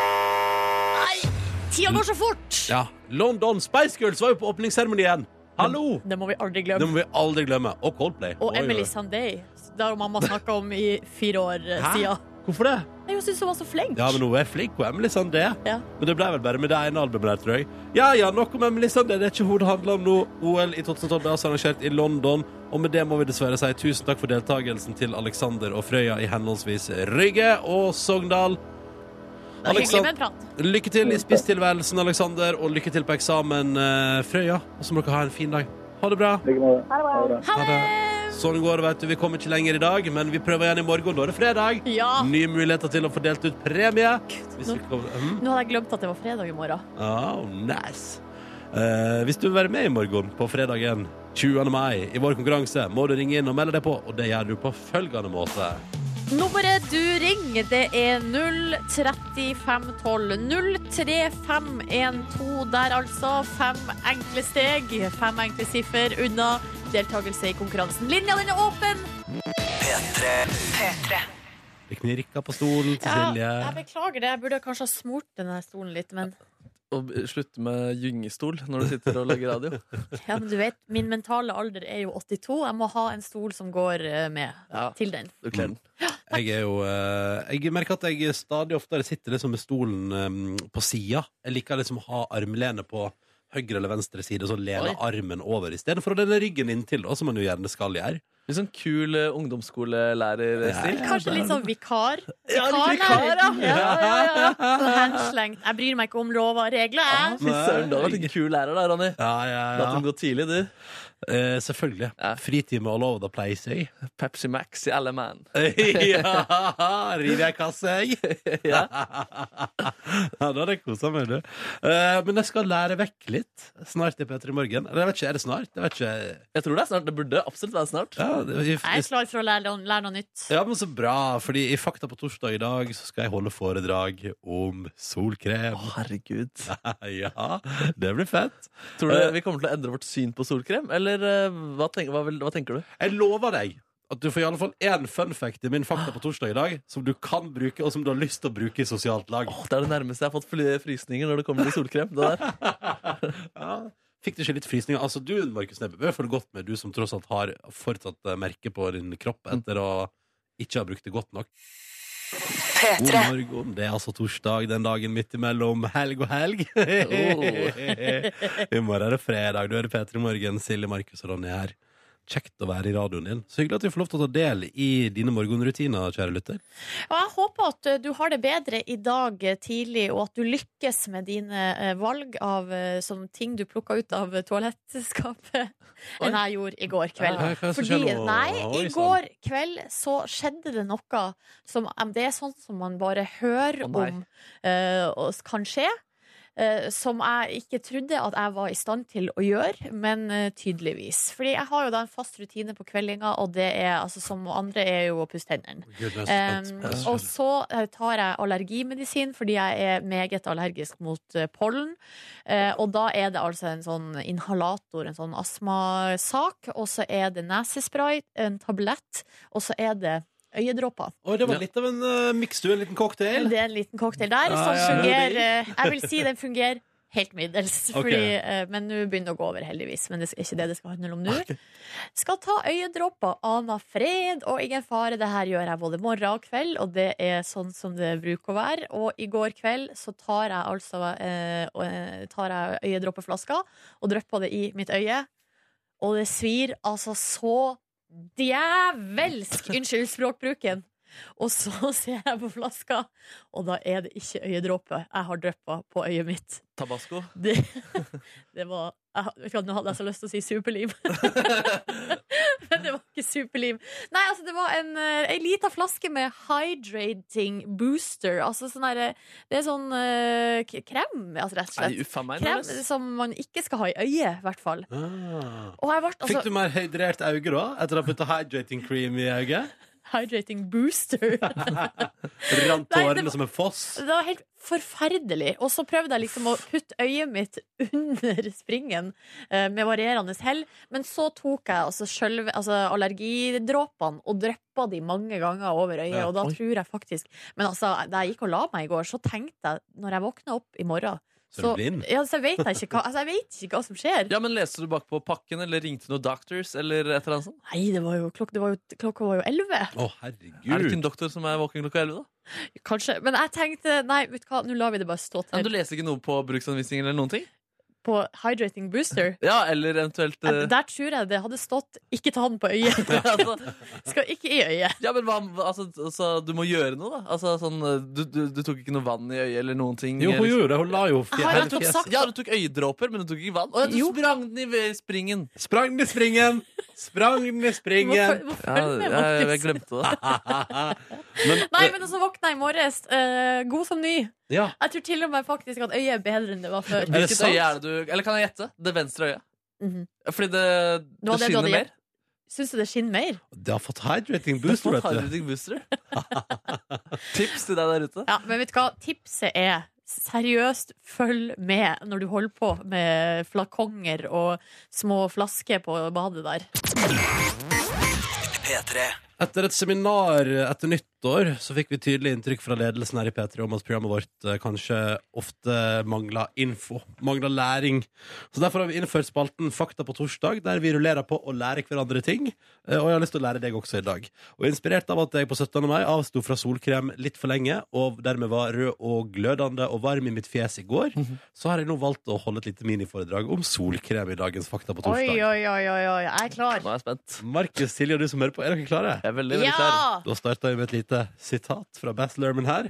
Speaker 2: Tida går så fort!
Speaker 1: Ja, London Spice Girls var jo på åpningsseremonien. Hallo!
Speaker 2: Det må vi aldri
Speaker 1: Det
Speaker 2: glemme.
Speaker 1: må vi aldri glemme. Og Coldplay. Oi,
Speaker 2: Og
Speaker 1: oi, oi.
Speaker 2: Emily Sandé. Det har mamma snakka om i fire år eh,
Speaker 1: Hæ?
Speaker 2: siden.
Speaker 1: Hvorfor det?
Speaker 2: Nei, Hun syntes hun var så flink.
Speaker 1: Ja, men hun er flink, hun Emily Sandé.
Speaker 2: Ja.
Speaker 1: Men det ble vel bare med det ene albumet der, tror jeg. Ja ja, nok om Emily Sandé. Det er ikke hun det handler om nå. OL i 2012 ble altså arrangert i London. Og med det må vi dessverre si tusen takk for deltakelsen til Alexander og Frøya i henholdsvis Rygge og Sogndal.
Speaker 2: Det var hyggelig med en prat.
Speaker 1: Lykke til i spisstilværelsen, Alexander, og lykke til på eksamen, eh, Frøya. Og så må dere ha en fin dag. Ha det bra.
Speaker 8: Like med det.
Speaker 9: Ha det bra.
Speaker 2: Ha det!
Speaker 1: Sånn går det, vet du. Vi kommer ikke lenger i dag, men vi prøver igjen i morgen. Da er det fredag.
Speaker 2: Ja.
Speaker 1: Nye muligheter til å få delt ut premie. Hvis
Speaker 2: nå-
Speaker 1: vi kommer, Mhm.
Speaker 2: Nå hadde jeg glemt at det var fredag i morgen.
Speaker 1: oh, nice. Eh, hvis du vil være med i morgen på fredagen 20. mai i vår konkurranse, må du ringe inn og melde deg på, og det gjør du på følgende måte.
Speaker 2: Nummeret du ringer, det er 03512. 03512 der, altså. Fem enkle steg, fem enkle siffer unna deltakelse i konkurransen. Linja, den er åpen!
Speaker 1: Det knirker på stolen til
Speaker 2: Ja,
Speaker 1: Silje.
Speaker 2: jeg beklager det. Jeg burde kanskje ha smurt denne stolen litt, men,
Speaker 6: Og b- slutte med gyngestol når du sitter og lager radio.
Speaker 2: ja, men du vet, min mentale alder er jo 82. Jeg må ha en stol som går eh, med
Speaker 6: Ja,
Speaker 2: til den.
Speaker 6: du kler den.
Speaker 1: Jeg er jo eh, Jeg merker at jeg stadig oftere sitter liksom med stolen eh, på sida. Jeg liker liksom å ha armlene på høyre eller venstre side, og så lene
Speaker 6: Oi.
Speaker 1: armen over istedenfor å lene ryggen inntil, da, som man jo gjerne skal gjøre.
Speaker 6: Litt sånn kul eh, ungdomsskolelærerstil.
Speaker 2: Kanskje litt sånn vikar.
Speaker 1: Ja, litt
Speaker 2: Vikarlærer.
Speaker 1: vikar, ja.
Speaker 2: ja. Ja, ja, ja. Sånn henslengt. Jeg bryr meg ikke om lover og regler. jeg.
Speaker 6: Fy søren, du har vært en kul lærer da, Ronny.
Speaker 1: Ja, ja,
Speaker 6: Latt dem gå tidlig, du.
Speaker 1: Eh, selvfølgelig.
Speaker 6: Ja.
Speaker 1: Fritime all over the place, jeg.
Speaker 6: Pepsi Max i alle man.
Speaker 1: ja, river jeg kasse, jeg.
Speaker 6: Ja.
Speaker 1: ja, da hadde jeg kosa meg, du. Eh, men jeg skal lære vekk litt snart i P3 Morgen. Eller jeg vet ikke, er det snart? Jeg vet ikke.
Speaker 6: Jeg tror det er snart. Det burde absolutt være snart.
Speaker 1: Ja, det,
Speaker 2: Jeg er klar for å lære, lære noe nytt.
Speaker 1: Ja, men så bra, fordi i Fakta på torsdag i dag så skal jeg holde foredrag om solkrem.
Speaker 6: Å, herregud.
Speaker 1: Ja, det blir fett.
Speaker 6: Tror du vi kommer til å endre vårt syn på solkrem, eller eh, hva, tenk, hva, vil, hva tenker du?
Speaker 1: Jeg lover deg at du får i alle fall én fun fact i min Fakta på torsdag i dag som du kan bruke, og som du har lyst til å bruke i sosialt lag.
Speaker 6: Åh, det er det nærmeste jeg har fått fly- frysninger når det kommer til solkrem. Det der.
Speaker 1: Ja. Fikk du ikke litt frysninger? Altså, du, Markus Neby, bør følge godt med, du som tross alt har fortsatt eh, merke på din kropp etter å ikke ha brukt det godt nok. God morgen. Det er altså torsdag, den dagen midt imellom helg og helg. I morgen er det fredag. Du hører P3 Morgen. Silje, Markus og Ronny er her. kjekt å være i radioen din. Så hyggelig at vi får lov til å ta del i dine morgenrutiner, kjære lytter.
Speaker 2: Og jeg håper at eh, du har det bedre i dag eh, tidlig, og at du lykkes med dine eh, valg av eh, sånne ting du plukka ut av eh, toalettskapet,
Speaker 6: Oi.
Speaker 2: enn jeg gjorde i går kveld.
Speaker 1: Hva- hva er det som
Speaker 2: Fordi,
Speaker 1: skjer nå?
Speaker 2: nei,
Speaker 1: Oi, sånn.
Speaker 2: i
Speaker 1: sann.
Speaker 2: går kveld så skjedde det noe som Det er sånt som man bare hører
Speaker 6: Å, nei.
Speaker 2: om eh, og s- kan skje. eh, som jeg ikke trodde at jeg var i stand til å gjøre, men eh, tydeligvis. Fordi jeg har jo da en fast rutine på kveldinga, og det er altså som andre er jo å pusse tennene.
Speaker 1: Gud, jeg er så
Speaker 2: Um,
Speaker 1: spent.
Speaker 2: og så eh, tar jeg allergimedisin fordi jeg er meget allergisk mot eh, pollen. Eh, og da er det altså en sånn inhalator, en sånn astmasak, og så er det nesespray, en tablett, og så er det øyedråper.
Speaker 1: Oi, det var litt av en uh, miks, du. En liten cocktail.
Speaker 2: Det er en liten cocktail der
Speaker 1: Ja,
Speaker 2: som
Speaker 1: ja, ja.
Speaker 2: fungerer eh, Jeg vil si den fungerer helt middels,
Speaker 1: Ok.
Speaker 2: fordi, eh, men nå begynner det å gå over, heldigvis. Men det er ikke det det skal handle om nå. Skal ta øyedråper, ana fred og ingen fare. Det her gjør jeg både morgen og kveld, og det er sånn som det bruker å være. Og i går kveld så tar jeg altså eh, og, eh, tar jeg øyedråpeflaska og drypper det i mitt øye, og det svir altså så djevelsk Unnskyld språkbruken. Og så ser jeg på flaska, og da er det ikke øyedråpe jeg har dryppa på øyet mitt.
Speaker 6: Tabasco.
Speaker 2: Det, det var jeg, har- vet du hva, Nå hadde jeg så lyst til å si superlim, men det var ikke superlim. Nei, altså, det var en, eh, ei lita flaske med hydrating booster. Altså sånn derre Det er sånn eh, k- krem, altså, rett og
Speaker 6: Nei,
Speaker 2: slett.
Speaker 6: uffa meg.
Speaker 2: Krem
Speaker 6: Nordnes.
Speaker 2: som man ikke skal ha i øyet, i hvert fall.
Speaker 1: Ah.
Speaker 2: Og jeg ble altså
Speaker 1: Fikk du mer hydrert øye da, etter å ha putta hydrating cream i øyet?
Speaker 2: Hydrating booster.
Speaker 1: Rant
Speaker 2: Nei, det
Speaker 1: tårene
Speaker 2: var-
Speaker 1: som en foss?
Speaker 2: Det var helt forferdelig. Og så prøvde jeg liksom å putte øyet mitt under springen eh, med varierende hell. Men så tok jeg altså, sjølve- altså allergidråpene og dryppa de mange ganger over øyet.
Speaker 1: Ja,
Speaker 2: Og da
Speaker 6: oi.
Speaker 2: tror jeg faktisk Men altså, da jeg gikk og la meg i går, så tenkte jeg når jeg våkna opp i morgen
Speaker 1: Så er du blind?
Speaker 2: ja, så vet jeg, ikke hva, altså, jeg vet ikke hva som skjer.
Speaker 6: Ja, men Leste du bakpå pakken, eller ringte noen doctors? eller et eller annet sånt?
Speaker 2: Nei, det var jo, klok, det var jo, klokka var jo elleve.
Speaker 1: Å,
Speaker 6: Er det ikke
Speaker 1: herregud.
Speaker 6: en doktor som er våken klokka 11? da?
Speaker 2: Kanskje. Men jeg tenkte nei, vet du hva, nå lar vi det bare stå
Speaker 6: Men du
Speaker 2: til.
Speaker 6: leser ikke noe på bruksanvisningen eller noen ting?
Speaker 2: På Hydrating Booster
Speaker 6: Ja, eller eventuelt eh,
Speaker 2: Der tror jeg det hadde stått 'ikke ta den på øyet'.
Speaker 6: altså,
Speaker 2: Skal ikke i øyet.
Speaker 6: Ja, men hva, hva- altså, altså, du må gjøre noe, da. Altså, sånn, eh, du, du, du tok ikke noe vann i øyet eller noen ting?
Speaker 1: Jo, hun
Speaker 6: eller-
Speaker 1: gjorde det. Hun la jo fje-
Speaker 2: Har jeg
Speaker 1: hele
Speaker 2: tok
Speaker 1: fjeset.
Speaker 2: sagt-
Speaker 6: Ja, du tok øyedråper, men du tok ikke vann? Å, ja, du
Speaker 2: Jo.
Speaker 6: sprang den i v- springen!
Speaker 1: Sprang den i springen! Sprang den i
Speaker 2: Du må
Speaker 1: springen!
Speaker 2: føl- må
Speaker 6: Ja,
Speaker 2: følge med,
Speaker 6: jeg, jeg
Speaker 2: Markus.
Speaker 6: glemte det.
Speaker 1: men, eh,
Speaker 2: Nei, men altså våkna jeg i morges. eh, god som ny.
Speaker 1: ja.
Speaker 2: Jeg tror til og med faktisk at øyet er bedre enn det var før.
Speaker 1: det
Speaker 6: Hvilket
Speaker 1: sant?
Speaker 6: øye er det du Eller kan jeg gjette? Det venstre øyet.
Speaker 2: Mhm.
Speaker 6: Fordi det,
Speaker 2: Det var det
Speaker 6: det
Speaker 2: du
Speaker 6: skinner
Speaker 2: hadde
Speaker 6: mer.
Speaker 2: Syns du det skinner mer?
Speaker 1: Det har fått hydrating
Speaker 6: Du
Speaker 1: booster,
Speaker 6: får ta
Speaker 1: vet du.
Speaker 6: ut booster. Tips til deg der ute.
Speaker 2: Ja, Men vet du hva? Tipset er seriøst, følg med når du holder på med flakonger og små flasker på badet der.
Speaker 4: P3.
Speaker 1: Etter et seminar etter nyttår så fikk vi tydelig inntrykk fra ledelsen her i P3 om at programmet vårt eh, kanskje ofte mangla info, mangla læring. Så derfor har vi innført spalten Fakta på torsdag, der vi rullerer på å lære hverandre ting. Eh, Og jeg har lyst til å lære deg også i dag. Og inspirert av at jeg på 17. mai avsto fra solkrem litt for lenge, og dermed var rød og glødende og varm i mitt fjes i går,
Speaker 2: Mhm.
Speaker 1: så har jeg nå valgt å holde et lite miniforedrag om solkrem i dagens Fakta på
Speaker 2: Oi,
Speaker 1: torsdag.
Speaker 2: oi, oi, oi, oi. jeg er klar.
Speaker 6: Nå er jeg spent.
Speaker 1: Markus, Silje og du som hører på, er dere klare?
Speaker 6: Jeg er veldig, veldig klar.
Speaker 2: Ja!
Speaker 1: Da starter vi med et lite sitat fra Bass Lerman her.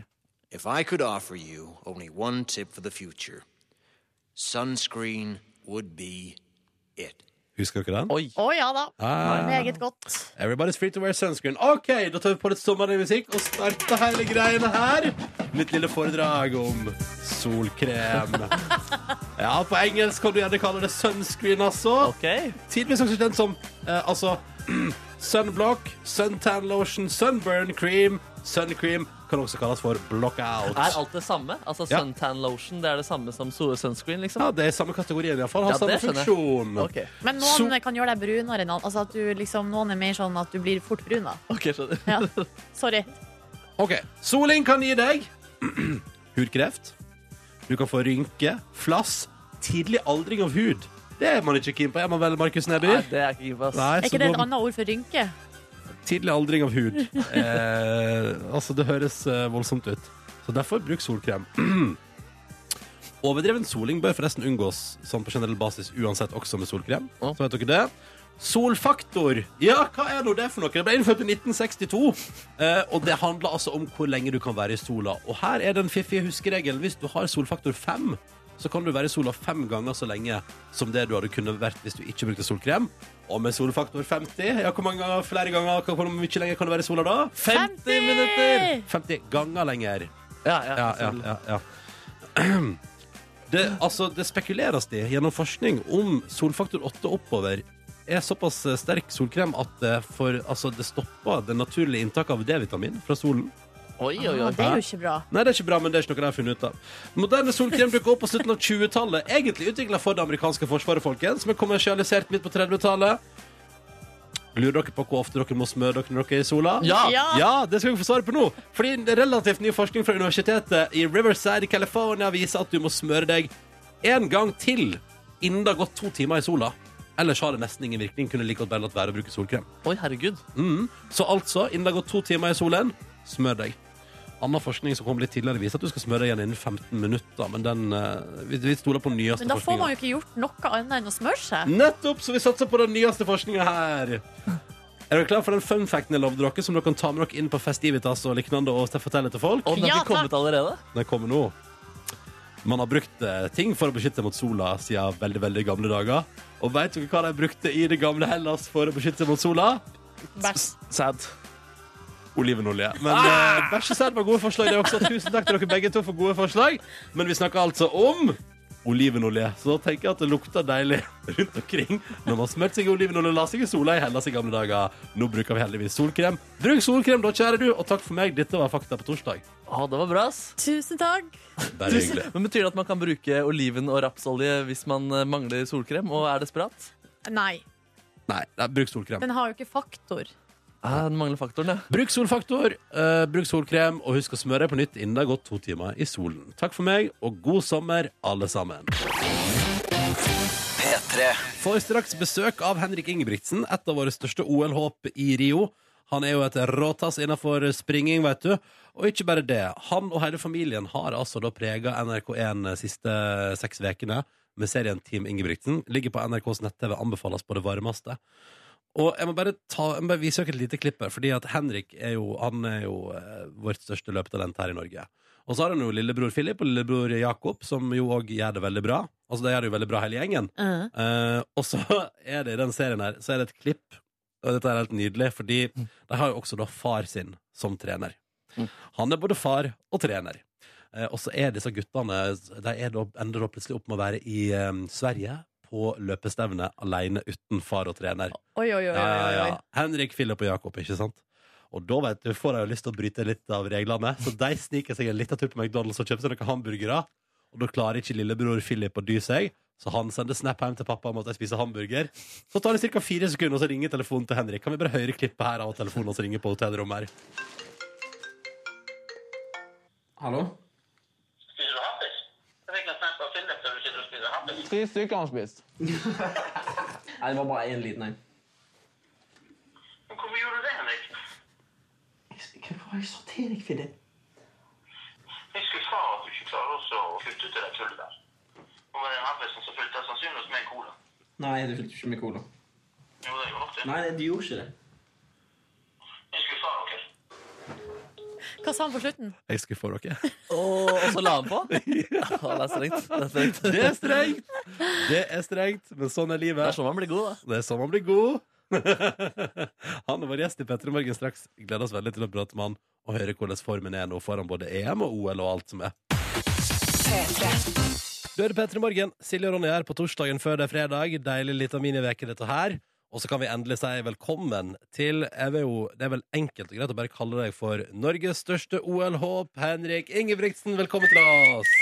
Speaker 10: If I could offer you only one tip for the future, sunscreen would be it.
Speaker 1: Husker dere den?
Speaker 6: Oi.
Speaker 2: Å ja da.
Speaker 1: Ah.
Speaker 2: Meget godt.
Speaker 1: Everybody's free to wear sunscreen. OK, da tar vi på litt sommerlig musikk og starter hele greiene her. Mitt lille foredrag om solkrem. Ja, på engelsk kan du gjerne kalle det sunscreen, altså.
Speaker 6: Ok.
Speaker 1: Tidvis også kjent som eh, altså sunblock, suntan lotion, sunburn cream, suncream. Kan også kalles for blockout.
Speaker 6: Er alt det samme? Altså
Speaker 1: Ja.
Speaker 6: Suntan lotion det er det samme som so- sunscreen? liksom?
Speaker 1: Ja, det er i samme kategorien, iallfall. Har
Speaker 6: Ja,
Speaker 1: samme
Speaker 6: det skjønner jeg.
Speaker 1: funksjon.
Speaker 6: Ok,
Speaker 2: Men noen kan gjøre deg brunere enn andre. Altså at du liksom, noen er mer sånn at du blir fort brun. da.
Speaker 6: ok, skjønner.
Speaker 2: Ja. Sorry.
Speaker 1: Ok, soling kan gi deg hudkreft. Du kan få rynke, flass, tidlig aldring av hud. Det er man ikke keen på, er man vel, Markus Neby?
Speaker 6: Nei, det er ikke gitt, ass.
Speaker 1: Nei,
Speaker 2: Er
Speaker 1: så
Speaker 2: ikke det et
Speaker 1: da-
Speaker 2: annet ord for rynke?
Speaker 1: tidlig aldring av hud. Eh, altså, det høres eh, voldsomt ut. Så derfor bruk solkrem. Overdreven soling bør forresten unngås sånn på generell basis uansett, også med solkrem.
Speaker 6: Ja.
Speaker 1: Så vet dere det. Solfaktor. Ja, hva er nå det for noe? Det ble innført i 1962. Eh, og det handler altså om hvor lenge du kan være i sola. Og her er den fiffige huskeregelen. Hvis du har solfaktor 5, så kan du være i sola fem ganger så lenge som det du hadde kunnet vært hvis du ikke brukte solkrem. Og med solfaktor 50, ja, hvor mange ganger, flere ganger, hvor hvor mye lenger kan du være i sola da?
Speaker 6: 50 minutter!
Speaker 1: 50 ganger lenger.
Speaker 6: Ja, ja,
Speaker 1: Ja, ja, ja, ja. Det, altså, det spekuleres det gjennom forskning om solfaktor 8 oppover er såpass eh, sterk solkrem at det, for, altså, det stopper det naturlige inntaket av D-vitamin fra solen.
Speaker 6: Oi, oi,
Speaker 2: Ja,
Speaker 6: oi.
Speaker 2: det er jo ikke bra.
Speaker 1: Nei, det er ikke bra, men det er ikke noe de har funnet ut av. Moderne solkrem dukket opp på slutten av 20-tallet. Egentlig utvikla for det amerikanske forsvaret, folkens, men kommersialisert midt på 30-tallet. Lurer dere på hvor ofte dere må smøre dere når dere er i sola?
Speaker 6: Ja.
Speaker 2: Ja.
Speaker 1: Ja, det skal vi få svar på nå. Fordi relativt ny forskning fra universitetet i Riverside i California viser at du må smøre deg en gang til innen det har gått to timer i sola. Ellers har det nesten ingen virkning. Kunne like godt bare latt være å bruke solkrem.
Speaker 6: Oi, herregud.
Speaker 1: Mhm. Så altså, innen det har gått to timer i solen, smør deg. Annen forskning som kom litt tidligere viser at du skal smøre deg igjen innen 15 minutter. Men den, eh, vi, vi stoler på den nyeste
Speaker 2: Men da får
Speaker 1: forskningen.
Speaker 2: man jo ikke gjort noe annet enn å smøre seg.
Speaker 1: Nettopp, så vi satser på den nyeste forskninga her. Er dere klar for den fun facten jeg lovde dere, som dere kan ta med dere inn på Festivitas og liknande og fortelle til folk?
Speaker 6: Og den
Speaker 2: Ja,
Speaker 6: har ikke kommet allerede?
Speaker 1: Den kommer nå. Man har brukt eh, ting for å beskytte mot sola siden veldig, veldig gamle dager. Og veit dere hva de brukte i det gamle Hellas for å beskytte seg mot sola?
Speaker 2: Bæsj.
Speaker 6: Sad.
Speaker 1: Olivenolje. Men eh, bæsj og sæd var gode forslag, det også. Tusen takk til dere begge to for gode forslag. Men vi snakker altså om olivenolje. Så da tenker jeg at det lukter deilig rundt omkring når man smørte seg i olivenolje og la seg i sola i Hellas i gamle dager. Nå bruker vi heldigvis solkrem. Bruk solkrem, da, kjære du. Og takk for meg. Dette var Fakta på torsdag.
Speaker 6: Å, det var bra, ass.
Speaker 2: Tusen takk.
Speaker 1: Bare hyggelig.
Speaker 6: Men Betyr det at man kan bruke oliven og rapsolje hvis man eh, mangler solkrem? Og er desperat?
Speaker 2: Nei,
Speaker 1: Nei, nei, bruk solkrem.
Speaker 2: den har jo ikke faktor.
Speaker 6: Ja, den mangler faktoren, ja.
Speaker 1: Bruk solfaktor, eh, bruk solkrem, og husk å smøre deg på nytt innen det har gått to timer i solen. Takk for meg, og god sommer, alle sammen.
Speaker 4: P3.
Speaker 1: Får straks besøk av Henrik Ingebrigtsen, et av våre største OL-håp i Rio. Han er jo et råtass innenfor springing, vet du. Og ikke bare det. Han og hele familien har altså da prega NRK1 de siste seks ukene med serien Team Ingebrigtsen. Ligger på NRKs nett-TV, anbefales på det varmeste. Og jeg må bare, ta, jeg må bare vise dere et lite klipp her, fordi at Henrik er jo, han er jo eh, vårt største løpetalent her i Norge. Og så har han jo lillebror Philip og lillebror Jakob, som jo òg gjør det veldig bra. Altså, de gjør det jo veldig bra, hele gjengen. Eh, og så er det i den serien her Så er det et klipp, og dette er helt nydelig, fordi de har jo også da far sin som trener. Han er både far og trener. Eh, og så er disse guttene De er da, ender da plutselig opp med å være i eh, Sverige på løpestevne alene uten far og trener.
Speaker 2: Oi, oi, oi. oi,
Speaker 1: Ja, ja,
Speaker 2: oi.
Speaker 1: ja. Henrik, Philip og Jakob, ikke sant? Og da vet du, får de jo lyst til å bryte litt av reglene, så de sniker seg en liten tur på McDonald's og kjøper seg noen hamburgere. Og da klarer ikke lillebror Philip å dy seg, så han sender snap hjem til pappa om at de spiser hamburger. Så tar det ca. fire sekunder, og så ringer telefonen til Henrik. Kan vi bare høre klippet her av telefonen hans ringer på hotellrommet her?
Speaker 7: Hallo?
Speaker 8: Spiser du hampus? Jeg fikk en snap av Philip der du sitter og spiser hampus.
Speaker 7: Tre stykker har han spist. Nei, det var bare én liten en.
Speaker 8: Men Hvorfor gjorde du det, Henrik?
Speaker 7: Hva var det jeg sa til deg, Fidde?
Speaker 8: Husker far at du ikke klarer også å kutte ut det der tullet der. Og med den hampusen så fulgte jeg sannsynligvis med en cola.
Speaker 7: Nei, du fikk ikke med cola.
Speaker 8: Jo, det gjorde nok det.
Speaker 7: Nei, du gjorde ikke det.
Speaker 8: Husker far dere?
Speaker 2: Hva sa han på slutten?
Speaker 1: Jeg skuffer dere.
Speaker 6: Og, og så la han på? Å, det er strengt. Det er strengt.
Speaker 1: Det er strengt! Det er strengt, men sånn er
Speaker 6: Det
Speaker 1: livet.
Speaker 6: er sånn man blir god, da.
Speaker 1: Det er sånn man blir god. han er vår gjest i Petter i morgen straks. Gleder oss veldig til å prate med han og høre hvordan formen er nå foran både EM og OL og alt som er. Du hører Petter i morgen. Silje og Ronny er her på torsdagen før det er fredag. Deilig lita miniveke, dette her. Og så kan vi endelig si velkommen til jeg vil jo, Det er vel enkelt og greit å bare kalle deg for Norges største OL-håp, Henrik Ingebrigtsen. Velkommen til oss!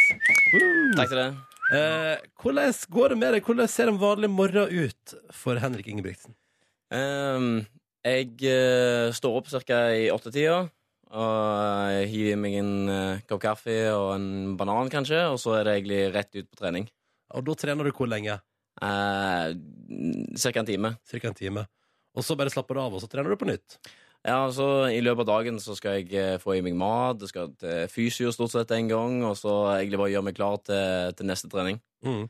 Speaker 3: Takk til deg.
Speaker 1: Eh, hvordan går det med deg? Hvordan ser en vanlig morgen ut for Henrik Ingebrigtsen?
Speaker 3: Ehm, jeg eh, står opp ca. i åttetida. Og jeg hiver i meg en eh, kopp kaffe og en banan, kanskje. Og så er det egentlig rett ut på trening.
Speaker 1: Og da trener du hvor lenge?
Speaker 3: Uh, ca. en time.
Speaker 1: Cirka en time. Og så bare slapper du av, og så trener du på nytt.
Speaker 3: Ja, altså I løpet av dagen så skal jeg eh, få i meg mat, jeg skal til fysio stort sett en gang, og så egentlig bare gjøre meg klar til, til neste trening.
Speaker 1: Mm.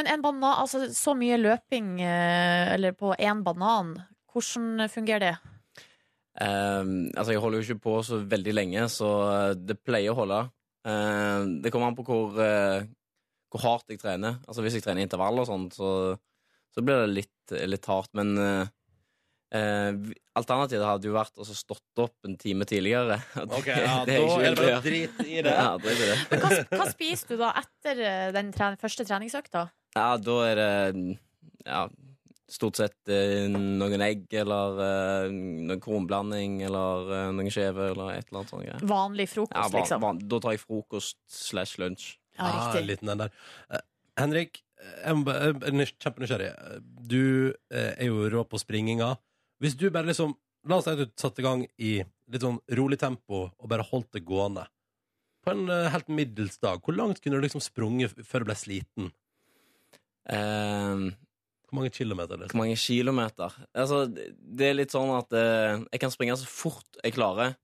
Speaker 2: Men en banan, altså så mye løping eh, Eller på én banan Hvordan fungerer det?
Speaker 3: Ehm, altså Jeg holder jo ikke på så veldig lenge, så eh, det pleier å holde. Ehm, det kommer an på hvor, eh, hvor hardt jeg trener. Altså Hvis jeg trener intervall og sånt, så, så blir det litt, litt hardt. Men eh, eh, vi- alternativet hadde jo vært å så stått opp en time tidligere.
Speaker 1: Ok, ja, da er det bare drit i det.
Speaker 3: Ja, drit i det.
Speaker 2: Men hva, hva spiser du da etter eh, den tre, første treningsøkta?
Speaker 3: Ja, da er det ja, stort sett eh, noen egg eller eh, noen kornblanding eller eh, noen skjeve eller et eller annet sånt. greier.
Speaker 2: Vanlig frokost,
Speaker 3: Ja, van-
Speaker 2: liksom.
Speaker 3: van- da tar jeg frokost slash lunsj.
Speaker 2: Ja, riktig.
Speaker 1: Ah, liten den der. Eh, Henrik, jeg må bare- jeg er nys- kjempenysgjerrig. Du eh, er jo rå på springinga. Hvis du bare liksom La oss si at du satte i gang i litt sånn rolig tempo og bare holdt det gående. På en eh, helt middels dag, hvor langt kunne du liksom sprunget f- før du ble sliten?
Speaker 3: Ehm,
Speaker 1: Hvor mange kilometer? Liksom?
Speaker 3: hvor mange kilometer? Altså, det det er litt sånn at eh, jeg kan springe så fort jeg klarer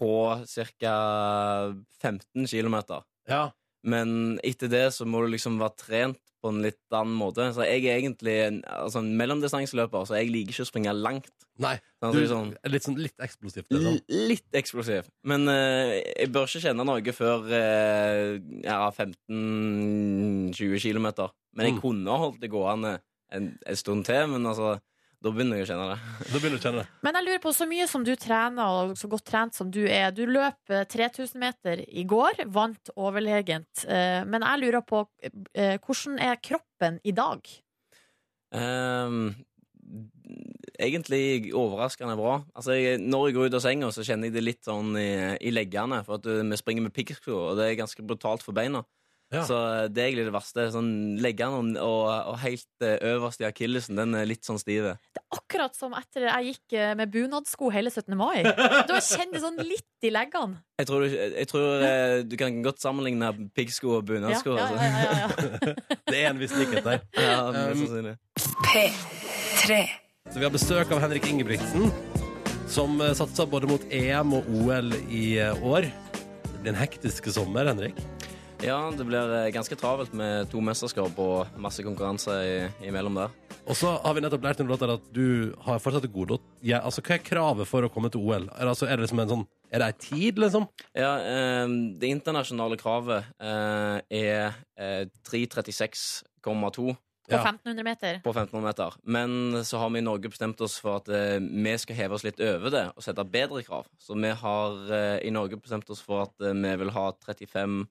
Speaker 3: på ca. 15 kilometer.
Speaker 1: Ja.
Speaker 3: Men etter det så må du liksom være trent på en litt annen måte. Så jeg er egentlig en, altså en mellomdistanseløper, så jeg liker ikke å springe langt.
Speaker 1: Nei.
Speaker 3: Sånn,
Speaker 1: Du,
Speaker 3: sånn,
Speaker 1: er litt, sånn, litt eksplosivt.
Speaker 3: l-
Speaker 1: Liksom.
Speaker 3: litt eksplosiv. Men eh, jeg bør ikke kjenne noe før eh, ja, 15-20 km. Men jeg
Speaker 1: Mm.
Speaker 3: kunne holdt det gående en, en stund til, men altså, da begynner jeg å kjenne det.
Speaker 1: Da begynner du å kjenne det.
Speaker 2: Men jeg lurer på, så mye som du trener, og så godt trent som du er Du løp eh, 3000 meter i går, vant overlegent. Eh, Men jeg lurer på, eh, hvordan er kroppen i dag?
Speaker 3: Ehm, egentlig overraskende bra. Altså, jeg, når jeg går ut av senga, så kjenner jeg det litt sånn i, i leggene. For at uh, vi springer med piggsko, og det er ganske brutalt for beina.
Speaker 1: Ja.
Speaker 3: Så eh, det er egentlig det verste. Sånn, leggene og, og, og helt eh, øverst i akillesen, den er litt sånn stive.
Speaker 2: Akkurat som etter jeg gikk eh, med bunadsko hele 17. mai. Da kjenner jeg sånn litt i leggene.
Speaker 3: Jeg tror, du- jeg tror eh, du kan godt sammenligne piggsko og bunadsko.
Speaker 2: Ja, ja,
Speaker 3: altså.
Speaker 2: ja, ja, ja.
Speaker 1: Det er en viss likhet der.
Speaker 3: Ja, mest
Speaker 1: Um,
Speaker 3: sannsynlig.
Speaker 5: P3.
Speaker 1: Så vi har besøk av Henrik Ingebrigtsen, som eh, satser både mot EM og OL i eh, år. Det blir en hektisk sommer, Henrik.
Speaker 3: ja, det blir eh, ganske travelt med to mesterskap og masse konkurranse i- imellom der.
Speaker 1: Og så har vi nettopp lært en låt der at du har fortsatt et godlåt. Ja, altså, hva er kravet for å komme til OL? Er det, altså, er det, liksom en sånn, er det ei tid, liksom?
Speaker 3: Ja, eh, det internasjonale kravet eh, er eh, 336,2
Speaker 2: På
Speaker 1: Ja.
Speaker 2: 1500 meter.
Speaker 3: på 1500 meter. Men så har vi i Norge bestemt oss for at eh, vi skal heve oss litt over det og sette bedre krav. Så vi har eh, i Norge bestemt oss for at eh, vi vil ha 35,5.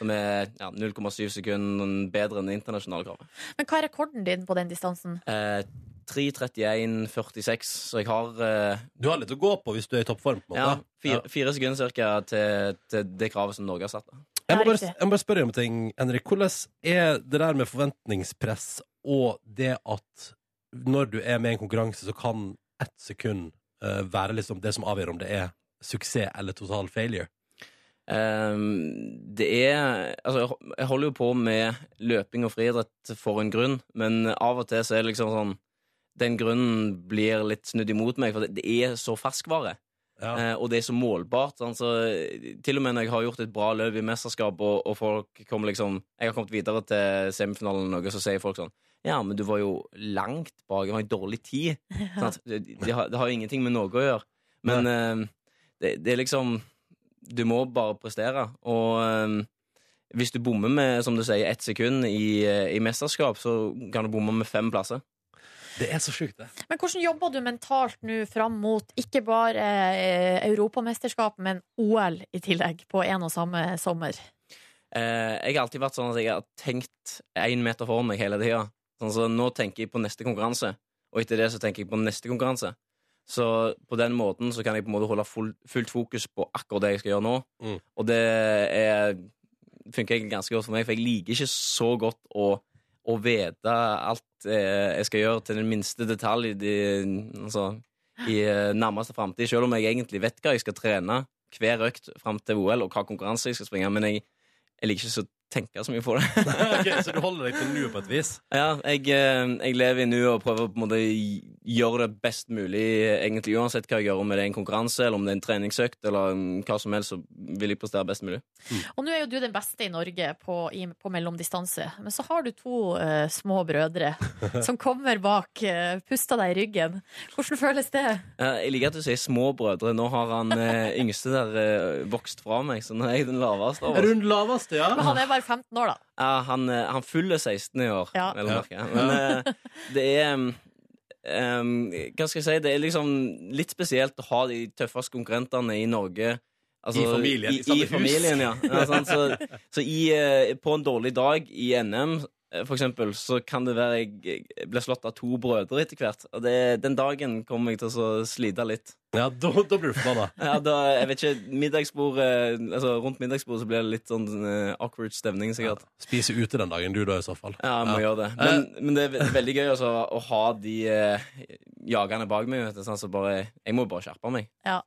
Speaker 3: Som er ja, 0,7 sekunder bedre enn det internasjonale kravet.
Speaker 2: Men hva er rekorden din på den distansen?
Speaker 3: Eh, 3.31,46, så jeg har eh,
Speaker 1: Du har litt å gå på hvis du er i toppform. på en
Speaker 3: ja,
Speaker 1: måte.
Speaker 3: fire, fire sekunder cirka til, til det kravet som Norge har satt. da.
Speaker 1: Jeg, må
Speaker 2: Ja,
Speaker 1: bare,
Speaker 2: riktig.
Speaker 1: jeg må bare spørre om en ting, Henrik. Hvordan er det der med forventningspress og det at når du er med i en konkurranse, så kan ett sekund eh, være liksom det som avgjør om det er suksess eller total failure?
Speaker 3: Ehm, det er Altså, jeg ho- jeg holder jo på med løping og friidrett for en grunn, men av og til så er det liksom sånn Den grunnen blir litt snudd imot meg, for det, det er så ferskvare.
Speaker 1: Ja.
Speaker 3: Eh, og det er så målbart. Sånn, så til og med når jeg har gjort et bra løp i mesterskap, og, og folk kommer liksom Jeg har kommet videre til semifinalen eller noe, så sier folk sånn Ja, men du var jo langt bak. Det var en dårlig tid. Sant? Det, det, har, det har jo ingenting med noe å gjøre. Men eh, det, det er liksom du må bare prestere. Og eh, hvis du bommer med som du sier, ett sekund i, eh, i mesterskap, så kan du bomme med fem plasser.
Speaker 1: Det er så sjukt, det.
Speaker 2: Men hvordan jobber du mentalt nå fram mot ikke bare eh, europamesterskap, men OL i tillegg, på en og samme sommer?
Speaker 3: Eh, jeg har alltid vært sånn at jeg har tenkt én meter foran meg hele tida. Sånn, så nå tenker jeg på neste konkurranse, og etter det så tenker jeg på neste konkurranse. Så på den måten så kan jeg på en måte holde full, fullt fokus på akkurat det jeg skal gjøre nå.
Speaker 1: Mm.
Speaker 3: Og det er, funker egentlig ganske godt for meg, for jeg liker ikke så godt å, å vite alt eh, jeg skal gjøre til den minste detalj i de- altså, i eh, nærmeste framtid. Selv om jeg egentlig vet hva jeg skal trene hver økt fram til OL, og hva konkurranse jeg skal springe, men jeg jeg liker ikke så tenke så mye på det.
Speaker 1: Ok, så du holder deg til nå på et vis?
Speaker 3: Ja, jeg, eh, jeg lever i nu og prøver på en måte å gjøre det best mulig, eh, egentlig uansett hva jeg gjør, om det er en konkurranse, eller om det er en treningsøkt, eller mm, hva som helst, så vil jeg prestere best mulig.
Speaker 2: Og nå er jo du den beste i Norge på, i, på mellomdistanse. Men så har du to eh, små brødre som kommer bak, eh, puster deg i ryggen. Hvordan føles det?
Speaker 3: Eh, Jeg liker at du sier små brødre. Nå har han eh, yngste der eh, vokst fra meg, så nå er jeg den laveste av oss.
Speaker 1: Rundt laveste, ja.
Speaker 2: Men han er bare 15 år, da.
Speaker 3: Ja, han, eh, han fyller 16 i år,
Speaker 2: Ja.
Speaker 3: vel å
Speaker 2: Ja.
Speaker 3: merke. Men eh, det er um, um, Hva skal jeg si? Det er liksom litt spesielt å ha de tøffeste konkurrentene i Norge. altså,
Speaker 1: I familien, i
Speaker 3: I,
Speaker 1: samme
Speaker 3: i,
Speaker 1: hus.
Speaker 3: familien ja. ja sant? Så, så i, eh, på en dårlig dag i NM, eh, for eksempel, så kan det være jeg jeg blir slått av to brødre etter hvert. Og det, den dagen kommer jeg til å så slite litt.
Speaker 1: Ja, da, da blir du forbanna.
Speaker 3: Ja, da, jeg vet ikke, middagsbord eh, altså, Rundt middagsbordet så blir det litt sånn eh, awkward stemning, sikkert.
Speaker 1: Spise ute den dagen, du, da, i så fall.
Speaker 3: Ja, jeg må gjøre det. Men, men det er ve- veldig gøy altså, å ha de eh, jagerne bak meg. Vet du, sånn, så bare, jeg må bare skjerpe meg.
Speaker 2: Ja.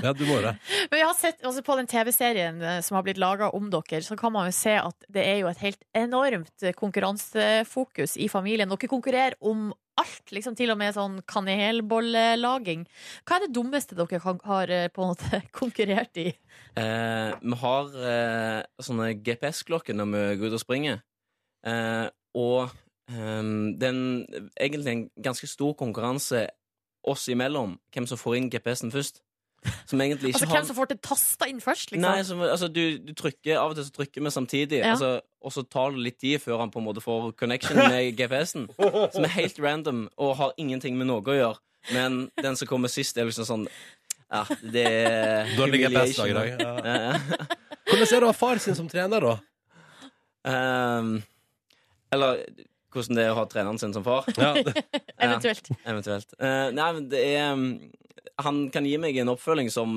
Speaker 1: Ja, du må jo det.
Speaker 2: Men vi har sett altså på den TV-serien eh, som har blitt laga om dere, så kan man jo se at det er jo et helt enormt eh, konkurransefokus i familien. Dere konkurrerer om alt, liksom til og med sånn kanelbollelaging. Hva er det dummeste dere kan, har eh, på en måte konkurrert i?
Speaker 3: Eh, vi har eh, sånne GPS-klokker når vi går ut og springer. Eh, og ehm, det er en- egentlig en ganske stor konkurranse oss imellom hvem som får inn GPS-en først. Som egentlig ikke
Speaker 2: Altså
Speaker 3: har
Speaker 2: hvem som får det tasta inn først, liksom?
Speaker 3: Nei, som, altså, du, du trykker, Av og til så trykker vi samtidig,
Speaker 2: Ja.
Speaker 3: altså, og så tar det litt tid før han på en måte får connection med GPS-en. Som er helt random og har ingenting med noe å gjøre. Men den som kommer sist, er liksom sånn ja, det er
Speaker 1: Dårlig
Speaker 3: humiliation.
Speaker 1: GPS-dag i dag, ja.
Speaker 3: Ja, ja.
Speaker 1: Hvordan er det å ha far sin som trener, da?
Speaker 3: Ehm, eller hvordan det er å ha treneren sin som far.
Speaker 1: Ja.
Speaker 2: Eventuelt.
Speaker 3: Eventuelt. Eh, nei, men det er mm, Han kan gi meg en oppfølging som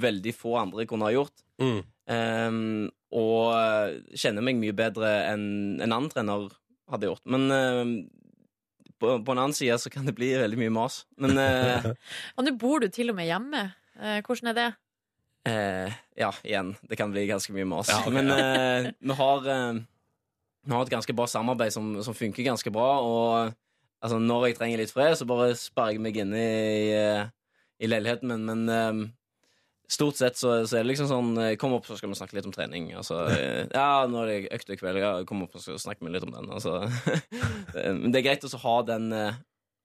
Speaker 3: veldig få andre kunne ha gjort.
Speaker 1: Mm.
Speaker 3: Ehm, og eh, kjenner meg mye bedre enn en annen trener hadde gjort. Men ehm, på, på en annen side så kan det bli veldig mye mas. Men eh,
Speaker 2: Og nå bor du til og med hjemme. Eh, Hvordan er det?
Speaker 3: eh, ja, igjen. Det kan bli ganske mye mas.
Speaker 1: Ja, ok,
Speaker 3: Men eh, vi har eh, Vi har et ganske bra samarbeid som, som funker ganske bra. Og altså, når jeg trenger litt fred, så bare sperrer jeg meg inne i, eh, i leiligheten min. Men ehm, stort sett så, så er det liksom sånn eh, Kom opp, så skal vi snakke litt om trening. Altså, eh, ja, nå er det økt i kveld. Ja, kom opp, så skal vi snakke litt om den. Altså, Eh, men det er greit også å ha den eh,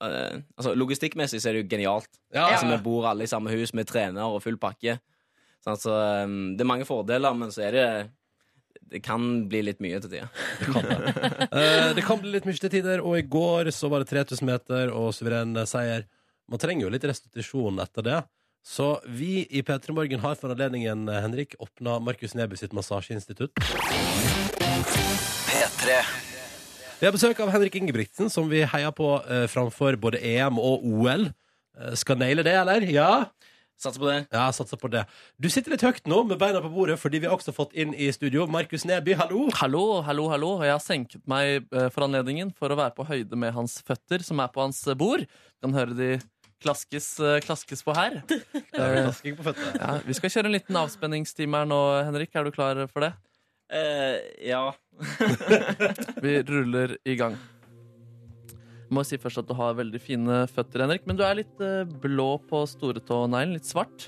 Speaker 3: eh, altså, Logistikkmessig så er det jo genialt.
Speaker 1: Ja.
Speaker 3: Altså, vi bor alle i samme hus, vi trener og full pakke. Sånn, at, så, eh, det er mange fordeler, men så er det Det kan bli litt mye til tider.
Speaker 1: Eh, det kan bli litt mye til tider, og i går så var det 3000 meter og suveren eh, seier. Man trenger jo litt restitusjon etter det. Så vi i P3 Morgen har for anledningen, eh, Henrik, åpna Markus Neby sitt massasjeinstitutt.
Speaker 4: P3.
Speaker 1: Vi har besøk av Henrik Ingebrigtsen, som vi heier på eh, framfor både EM og OL. Eh, skal naile det, eller? Ja?
Speaker 3: Satser på det.
Speaker 1: Ja, jeg satser på det. Du sitter litt høyt nå, med beina på bordet, fordi vi har også fått inn i studio Markus Neby, hallo!
Speaker 6: Hallo, hallo, hallo. Jeg har senket meg eh, for anledningen for å være på høyde med hans føtter, som er på hans eh, bord. Du kan høre de klaskes, eh, klaskes på her. Eh,
Speaker 1: Tasking på føttene.
Speaker 6: ja, vi skal kjøre en liten avspenningstime her nå, Henrik. Er du klar for det?
Speaker 3: Eh, ja.
Speaker 6: Vi ruller i gang. Jeg må si først at du har veldig fine føtter, Henrik, men du er litt eh, blå på storetåneglen. Litt svart.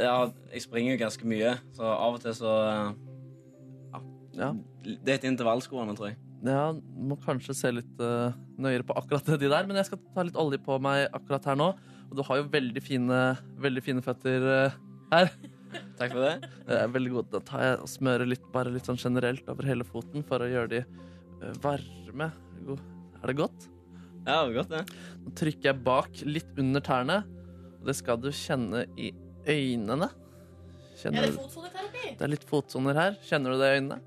Speaker 3: ja. Jeg springer jo ganske mye, så av og til så eh,
Speaker 6: Ja,
Speaker 3: Det heter intervallskoene, tror jeg.
Speaker 6: ja må kanskje se litt eh, nøyere på akkurat de der, men jeg skal ta litt olje på meg akkurat her nå. Og du har jo veldig fine, veldig fine føtter eh, her.
Speaker 3: Takk for det.
Speaker 6: Jeg er veldig god. Da tar jeg og smører litt, bare litt sånn generelt over hele foten for å gjøre de eh, varme. God. Er det godt?
Speaker 3: Ja, det var godt, det.
Speaker 6: Nå trykker jeg bak litt under tærne. Og det skal du kjenne i øynene. Kjenner du
Speaker 2: fotsoneterapi?
Speaker 6: Det er litt fotsoner her. Kjenner du det i øynene?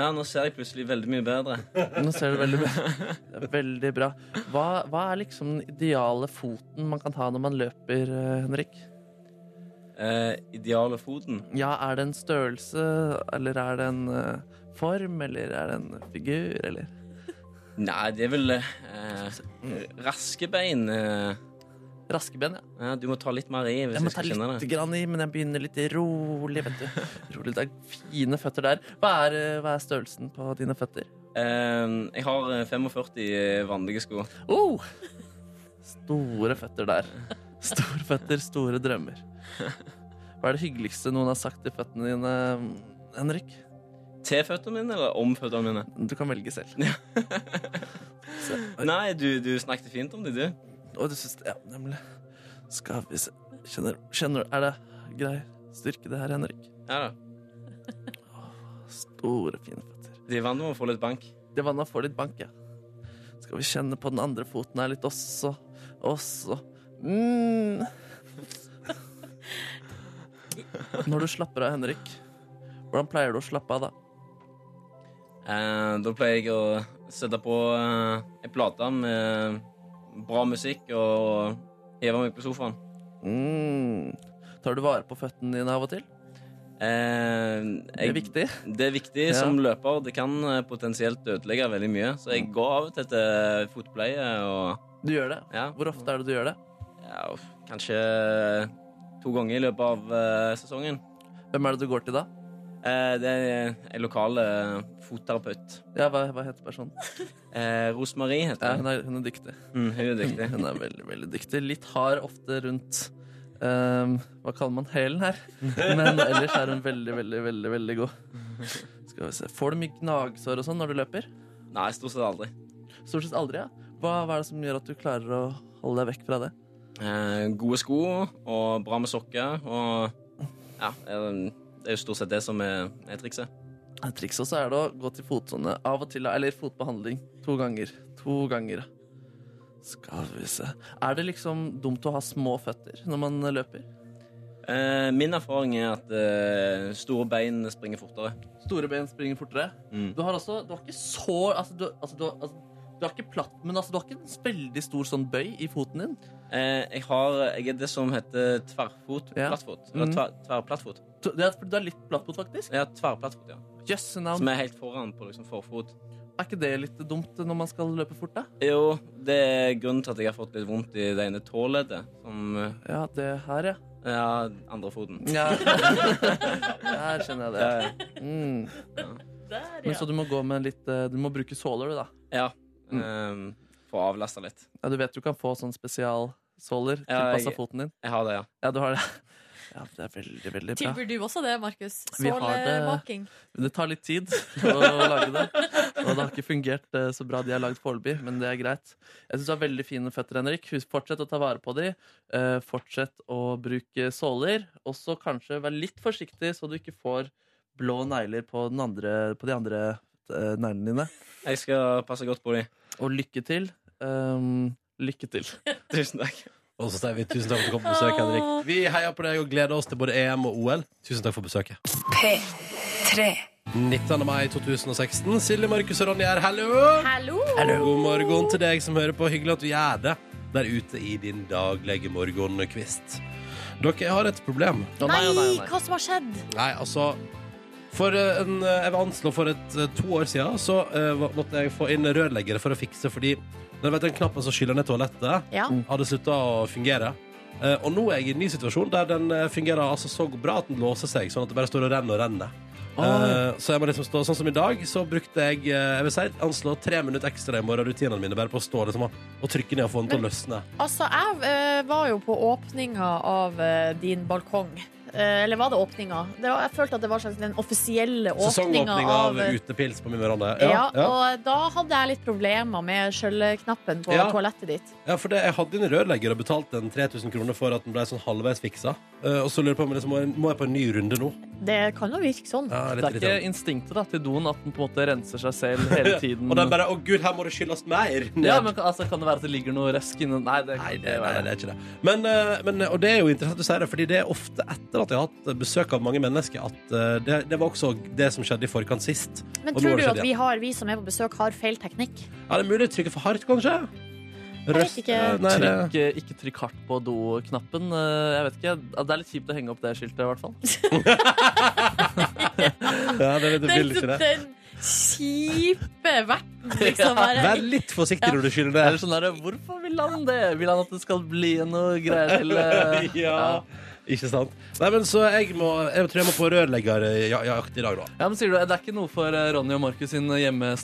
Speaker 3: Ja, nå ser jeg plutselig veldig mye bedre.
Speaker 6: Nå ser du veldig bra. Det er veldig bra. Hva, hva er liksom den ideale foten man kan ha når man løper, eh, Henrik?
Speaker 3: Eh, ideale foten.
Speaker 6: Ja, er det en størrelse, eller er det en eh, form, eller er det en figur, eller
Speaker 3: Nei, det er vel eh, raske bein. Eh,
Speaker 6: Raskeben, ja.
Speaker 3: Ja, du må ta litt mer i hvis
Speaker 6: Jeg
Speaker 3: jeg
Speaker 6: må ta
Speaker 3: skal skjønne
Speaker 6: litt
Speaker 3: det.
Speaker 6: grann i, men jeg begynner litt rolig, vet du. Rolig, det er fine føtter der. Hva er, eh, hva er størrelsen på dine føtter?
Speaker 3: Eh, jeg har eh, 45 vanlige sko.
Speaker 6: Oh! Store føtter der. Store føtter, store drømmer. Hva er det hyggeligste noen har sagt til føttene dine, eh, Henrik?
Speaker 3: Til føttene mine eller om føttene mine?
Speaker 6: Du kan velge selv.
Speaker 3: Nei, du, du snakket fint om det, du.
Speaker 6: Og du synes, ja, nemlig. Skal vi se Kjenner, kjenner Er det grei styrke, det her, Henrik?
Speaker 3: Ja da.
Speaker 6: Store, fine føtter.
Speaker 3: De vannet må få litt bank.
Speaker 6: Det vannet får litt bank, ja. Skal vi kjenne på den andre foten her litt også? Også. Mm. Når du slapper av, Henrik, hvordan pleier du å slappe av da?
Speaker 3: Eh, da pleier jeg å sette på eh, en plate med bra musikk og heve meg på sofaen.
Speaker 6: Mm. Tar du vare på føttene dine av og til?
Speaker 3: Eh,
Speaker 6: Det
Speaker 3: jeg-
Speaker 6: er viktig.
Speaker 3: Det er viktig
Speaker 6: Ja.
Speaker 3: som løper. Det kan eh, potensielt ødelegge veldig mye. Så jeg går av og til til fotpleie og
Speaker 6: Du gjør det.
Speaker 3: ja,
Speaker 6: Hvor ofte er det du gjør det?
Speaker 3: ja, uff, kanskje eh, to ganger i løpet av eh, sesongen.
Speaker 6: Hvem er det du går til da?
Speaker 3: Eh, det er en lokal eh, fotterapeut.
Speaker 6: Ja, hva, hva heter personen?
Speaker 3: Eh, Rosemarie
Speaker 6: Ja,
Speaker 3: heter hun.
Speaker 6: hun, er, hun er dyktig.
Speaker 3: Mm, hun er dyktig.
Speaker 6: Hun er veldig, veldig dyktig. Litt hard ofte rundt ehm, Hva kaller man hælen her? Men ellers er hun veldig, veldig, veldig veldig god. Skal vi se. Får du mye gnagsår og sånn når du løper?
Speaker 3: Nei, stort sett aldri.
Speaker 6: Stort sett aldri, ja. Hva, hva er det som gjør at du klarer å holde deg vekk fra det?
Speaker 3: Eh, gode sko og bra med sokker og Ja, eh, det er jo stort sett det som er, er trikset.
Speaker 6: Et triks også er det å gå til fotsone av og til, eller fotbehandling, to ganger. To ganger. Skal vi se Er det liksom dumt å ha små føtter når man løper?
Speaker 3: Eh, min erfaring er at eh, store bein springer fortere.
Speaker 6: Store ben springer fortere.
Speaker 3: Mm.
Speaker 6: Du har også Du har ikke så Altså, du, altså, du, har- altså, du har ikke platt, men altså, du har ikke en veldig stor sånn bøy i foten din.
Speaker 3: Eh, jeg, har, jeg er det som heter tverrfot.
Speaker 6: Ja.
Speaker 3: Plattfot. Eller
Speaker 6: Mhm.
Speaker 3: tver, tverrplattfot.
Speaker 6: Du, det er, du er litt plattfot, faktisk.
Speaker 3: Ja, tverrplattfot, ja.
Speaker 6: Jøsse
Speaker 3: Som
Speaker 6: navn.
Speaker 3: er helt foran på liksom, forfot.
Speaker 6: Er ikke det litt dumt når man skal løpe fort, da?
Speaker 3: Jo, det er grunnen til at jeg har fått litt vondt i det ene tåleddet. Som eh,
Speaker 6: Ja, det her, ja.
Speaker 3: Ja, andre foten.
Speaker 6: ja. Her skjønner jeg det.
Speaker 3: Eh,
Speaker 6: Mm.
Speaker 2: Der,
Speaker 6: Men
Speaker 2: ja.
Speaker 6: så du må gå med litt eh, Du må bruke såler, du, da.
Speaker 3: ja.
Speaker 6: Mm.
Speaker 3: Eh, Få avlasta litt.
Speaker 6: Ja, du vet du kan få sånn spesialsåler
Speaker 3: Ja,
Speaker 6: tilpassa
Speaker 3: jeg-
Speaker 6: foten din.
Speaker 3: Jeg har det, ja.
Speaker 6: Ja, du har det. Ja, det er veldig, veldig bra.
Speaker 2: Tilbyr du også det, Markus?
Speaker 6: Vi har det.
Speaker 2: Sålemaking.
Speaker 6: Men det tar litt tid å lage det. Og det har ikke fungert eh, så bra de har lagd foreløpig, men det er greit. Jeg syns du har veldig fine føtter, Henrik. Husk- Fortsett å ta vare på dem. Fortsett å bruke såler. Og så kanskje vær litt forsiktig, så du ikke får blå negler på, den andre, på de andre eh, neglene dine.
Speaker 3: Jeg skal passe godt på de.
Speaker 6: Og lykke til. Um, lykke til.
Speaker 3: Tusen takk.
Speaker 1: Og så sier vi tusen takk for at du kom på besøk, Henrik.
Speaker 2: Åh.
Speaker 1: Vi heier på deg og gleder oss til både EM og OL. Tusen takk for besøket.
Speaker 5: P3.
Speaker 1: 19. mai 2016. Silje, Markus og Ronny er hallo!
Speaker 2: Hallo!
Speaker 1: God morgen til deg som hører på. Hyggelig at du gjør det der ute i din daglige morgenkvist. Dere har et problem.
Speaker 6: Å,
Speaker 2: Nei,
Speaker 6: å, å,
Speaker 2: hva som har skjedd?
Speaker 1: Nei, altså For eh, en, eh, jeg vil anslå for et, eh, to år siden så eh, va- måtte jeg få inn rørleggere for å fikse fordi dere vet, den knappen som skyller ned toalettet,
Speaker 2: Ja.
Speaker 1: hadde slutta å fungere. Eh, og nå er jeg i en ny situasjon der den eh, fungerer altså så bra at den låser seg, sånn at det bare står og renner og renner. Eh, så jeg må liksom stå sånn som i dag, så brukte jeg eh, jeg vil si, anslå tre minutter ekstra i morgenrutinene mine bare på å stå liksom, og, og trykke ned og få den til å løsne.
Speaker 2: Altså, jeg eh, var jo på åpninga av eh, din balkong. Eh, eller var det åpninga? Det var, jeg følte at det var slags den offisielle åpninga
Speaker 1: Sesongåpning
Speaker 2: av eh,
Speaker 1: av utepils på min veranda.
Speaker 2: ja, og da hadde jeg litt problemer med skjølleknappen på
Speaker 1: Ja.
Speaker 2: toalettet ditt.
Speaker 1: Ja, for det, Jeg hadde en rørlegger og betalte en 3000 kroner for at den ble sånn halvveis fiksa. Eh, og så lurer jeg på om jeg liksom, må jeg- må jeg på en ny runde nå.
Speaker 2: Det kan jo virke sånn.
Speaker 1: Ja,
Speaker 6: Det er ikke instinktet da, til doen at den på en måte renser seg selv hele tiden.
Speaker 1: og den bare 'Å, gud, her må det skylles mer'. ned».
Speaker 6: Ja, men kan- altså, Kan det være at det ligger noe røsk inni Nei, det kan
Speaker 1: Nei,
Speaker 6: ikke
Speaker 1: det,
Speaker 6: være
Speaker 1: nei, det er ikke det. Men, eh, men, og det er jo interessant du sier det, fordi det er ofte etter at jeg har hatt besøk av mange mennesker, at eh, det, det var også det som skjedde i forkant sist.
Speaker 2: Men
Speaker 1: Og nå har
Speaker 2: tror
Speaker 1: det
Speaker 2: du
Speaker 1: skjedd
Speaker 2: at vi, har, vi som er på besøk, har feil teknikk?
Speaker 1: Ja, det er mulig å trykke for hardt, kanskje? Røst-
Speaker 2: ikke.
Speaker 1: Nei, det-
Speaker 6: Trykk, eh, ikke trykk hardt på do-knappen. Eh, Jeg vet ikke, Ja, Det er litt kjipt å henge opp det skiltet, i hvert fall.
Speaker 1: ja, det er litt vilt, ikke det?
Speaker 2: Den kjipe verten, liksom. Bare.
Speaker 1: Vær litt forsiktig når du skyller det.
Speaker 6: Eller sånn der, hvorfor vil han det? Vil han at det skal bli noe greier til eh,
Speaker 1: ja. Ikke sant? Nei, men så jeg, må, jeg tror jeg må på rørleggerjakt i dag, da.
Speaker 6: Ja, men sier du, Det er ikke noe for eh, Ronny og Markus sin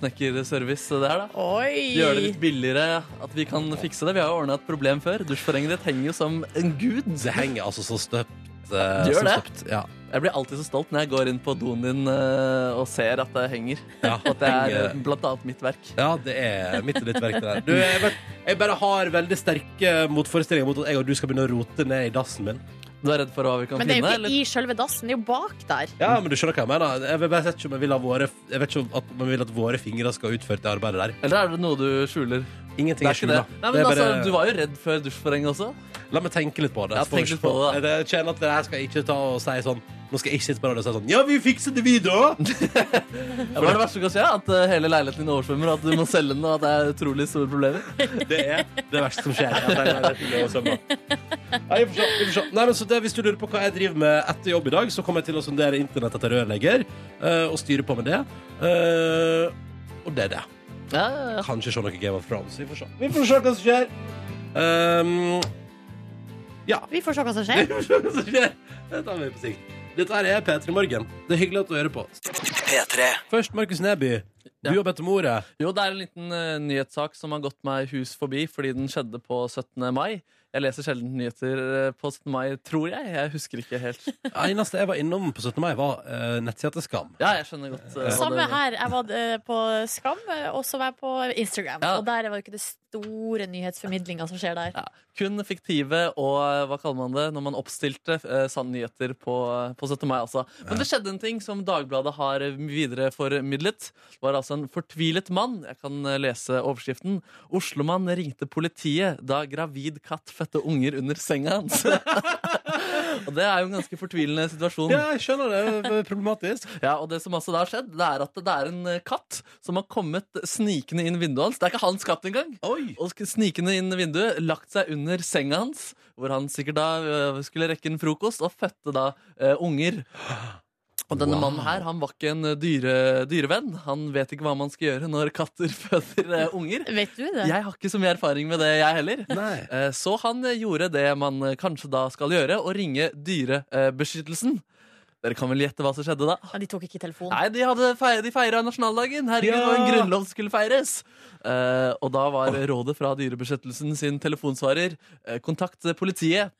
Speaker 6: hjemmesnekkerservice? det her da?
Speaker 2: Oi!
Speaker 6: Gjøre det litt billigere, at vi kan fikse det. Vi har jo ordna et problem før. Dusjforhenget ditt henger jo som en gud.
Speaker 1: Det henger altså så støpt. eh,
Speaker 6: Gjør
Speaker 1: så
Speaker 6: det?
Speaker 1: støpt, Ja.
Speaker 6: Jeg blir alltid så stolt når jeg går inn på doen din eh, og ser at det henger.
Speaker 1: Ja,
Speaker 6: At det er
Speaker 1: henger.
Speaker 6: eh, blant annet mitt verk.
Speaker 1: Ja, det er mitt og ditt verk. det der. Du, jeg, vet- jeg bare har veldig sterke motforestillinger mot at jeg og du skal begynne å rote ned i dassen min.
Speaker 6: Du er redd for hva vi kan
Speaker 2: Men det er jo
Speaker 6: finne?
Speaker 2: ikke i selve dassen, det er jo bak der.
Speaker 1: Ja, men du skjønner hva jeg mener. Jeg vil bare vet ikke om jeg vil, ha våre, jeg vet ikke om at man vil at våre fingre skal utføre det arbeidet der.
Speaker 6: Eller er det noe du skjuler?
Speaker 1: Ingenting
Speaker 6: Det
Speaker 1: er
Speaker 6: er ikke det.
Speaker 1: skjula.
Speaker 6: Nei, men
Speaker 1: Det er
Speaker 6: altså,
Speaker 1: bare-
Speaker 6: du var jo redd før dusjforhenget også.
Speaker 1: La meg tenke litt på det.
Speaker 6: Ja,
Speaker 1: så får vi
Speaker 6: tenk litt
Speaker 1: se.
Speaker 6: på det,
Speaker 1: Jeg kjenner at det her skal jeg ikke ta og si sånn Nå skal jeg ikke sitte på radio og si sånn Ja, vi fikser det, vi, da!
Speaker 6: Ja, Hva er det verste som kan skje? At eh, hele leiligheten din oversvømmer, og at du må selge den, og at det er utrolig store problemer?
Speaker 1: Det er det verste som skjer. Jeg tenker det er til å svømme. Nei, vi får se, vi får se. Nei, men så det, hvis du lurer på hva jeg driver med etter jobb i dag, så kommer jeg til å sondere internett etter rørlegger eh, og styre på med det. Eh, og det er det.
Speaker 6: Ja, ja, ja.
Speaker 1: Kanskje se noe Game of Thrones. Vi får se, vi får se hva som skjer. Um,
Speaker 2: Vi får se hva som skjer.
Speaker 1: vi får se hva som skjer. Det tar vi på sikt. Dette her er P3 Morgen. Det er hyggelig at du hører på.
Speaker 4: P3.
Speaker 1: Først, Markus Neby. Du har bedt om ordet.
Speaker 6: Jo, det er en liten eh, nyhetssak som har gått meg hus forbi fordi den skjedde på 17. mai. Jeg leser sjelden nyheter eh, på 17. mai, tror jeg. Jeg husker ikke helt.
Speaker 1: Det eneste jeg var innom på 17. mai, var uh, nettsida til Skam.
Speaker 6: Ja, jeg skjønner godt. eh, hva
Speaker 2: Samme
Speaker 6: det-
Speaker 2: her. Jeg var eh, på Skam, eh, og så var jeg på Instagram.
Speaker 6: Ja.
Speaker 2: Og der var jo ikke det store nyhetsformidlinga som skjer der.
Speaker 6: Ja, kun fiktive og eh, hva kaller man det når man oppstilte eh, sanne nyheter på, på 17. mai. Altså. Men det skjedde en ting som Dagbladet har eh, videreformidlet. Det var altså en fortvilet mann. Jeg kan eh, lese overskriften. Oslomann ringte politiet da gravid katt fødte unger under senga hans. og det er jo en ganske fortvilende situasjon.
Speaker 1: Ja, jeg skjønner det. det. er Problematisk.
Speaker 6: Ja, og det som altså da har skjedd, det er at det er en eh, katt som har kommet snikende inn vinduet hans. Det er ikke hans katt engang.
Speaker 1: Oi.
Speaker 6: Og sk- snikende inn vinduet, lagt seg under senga hans, hvor han sikkert da øh, skulle rekke en frokost, og fødte da øh, unger. Og denne
Speaker 1: Wow.
Speaker 6: mannen her, han var ikke en øh, dyre, dyrevenn. Han vet ikke hva man skal gjøre når katter føder øh, unger.
Speaker 2: Vet du det?
Speaker 6: Jeg har ikke så mye erfaring med det, jeg heller.
Speaker 1: Nei.
Speaker 6: Eh, Så han eh, gjorde det man eh, kanskje da skal gjøre, å ringe Dyrebeskyttelsen. Dere kan vel gjette hva som skjedde da?
Speaker 2: Ja, Ah, de tok ikke telefonen.
Speaker 6: Nei, de, hadde fei- de feira nasjonaldagen. Herregud,
Speaker 1: Ja!
Speaker 6: det var en grunnlov som skulle feires. Eh, og da var rådet fra Dyrebeskyttelsen sin telefonsvarer eh, kontakt politiet.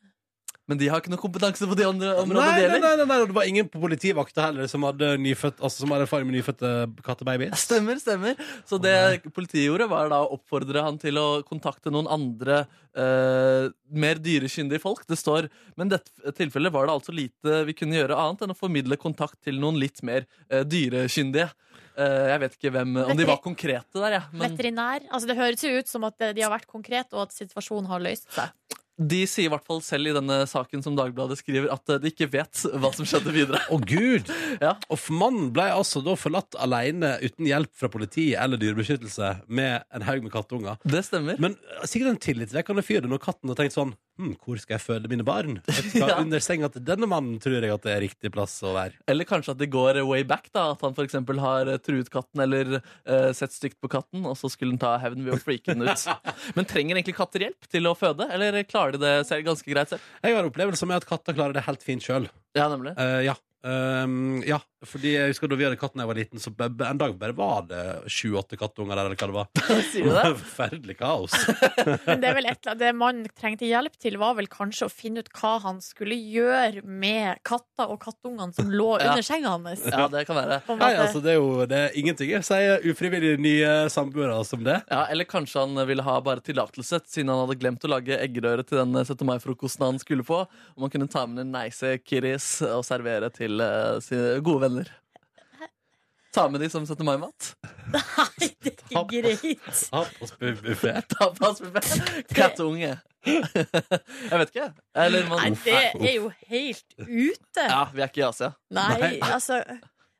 Speaker 6: Men de har ikke noe kompetanse på det om-
Speaker 1: Nei,
Speaker 6: området
Speaker 1: nei,
Speaker 6: det
Speaker 1: nei,
Speaker 6: gjelder.
Speaker 1: nei, nei, og det var ingen på politivakta heller som hadde, nyfødt, altså, som hadde erfaring med nyfødte kattebabier.
Speaker 6: Stemmer, stemmer. Så det politiet gjorde, var da å oppfordre han til å kontakte noen andre eh, mer dyrekyndige folk. Det står Men i dette tilfellet var det altså lite vi kunne gjøre annet enn å formidle kontakt til noen litt mer eh, dyrekyndige. Eh, jeg vet ikke hvem, om de var konkrete der, jeg. men-
Speaker 2: Veterinær. Altså, det høres jo ut som at eh, de har vært konkrete, og at situasjonen har løst seg.
Speaker 6: De sier i hvert fall selv i denne saken som Dagbladet skriver, at eh, de ikke vet hva som skjedde videre.
Speaker 1: Å, gud!
Speaker 6: Ja.
Speaker 1: Og f- mannen ble altså da forlatt alene uten hjelp fra politiet eller dyrebeskyttelse med en haug med kattunger.
Speaker 6: Det stemmer.
Speaker 1: Men eh, sikkert en tillitvekkende fyr det når katten har tenkt sånn hm, Hvor skal jeg føde mine barn? Jeg skal
Speaker 6: Ja.
Speaker 1: Under senga til denne mannen tror jeg at det er riktig plass å være.
Speaker 6: Eller kanskje at de går eh, way back. da At han f.eks. har eh, truet katten eller eh, sett stygt på katten, og så skulle han ta hevn ved å freake den ut. Men trenger egentlig katter hjelp til å føde, eller klarer de det selv ganske greit selv?
Speaker 1: Jeg har opplevelser med at katter klarer det helt fint sjøl.
Speaker 6: Ja, nemlig.
Speaker 1: Eh, ja. Ehm, ja, fordi jeg husker da vi hadde katten da jeg var liten, så b- b- en dag bare var det sju-åtte kattunger der, eller hva det var.
Speaker 6: Sier du det?
Speaker 1: Forferdelig kaos.
Speaker 2: Men det, er vel et, eller annet- det man trengte hjelp til, var vel kanskje å finne ut hva han skulle gjøre med katta og kattungene som lå
Speaker 6: Ja.
Speaker 2: under senga hans.
Speaker 6: Ja, det kan være.
Speaker 2: På en
Speaker 1: Nei,
Speaker 2: måte.
Speaker 1: altså, det er jo det er ingenting jeg sier ufrivillig nye samboere som det.
Speaker 6: Ja, Eller kanskje han ville ha bare tillatelse, siden han hadde glemt å lage eggerøre til den eh, 17. mai-frokosten han skulle på. Om han kunne ta med en nice kiddies og servere til eh, sine gode venner. Ta med de som 17. mai-mat.
Speaker 2: Nei, det er ikke greit.
Speaker 1: Ja, på sp- buffet.
Speaker 6: Ta på oss med kattunge. Jeg vet ikke. Eller
Speaker 2: Nei,
Speaker 6: man
Speaker 2: det er jo helt ute.
Speaker 6: Ja, vi er ikke i Asia.
Speaker 2: Nei, altså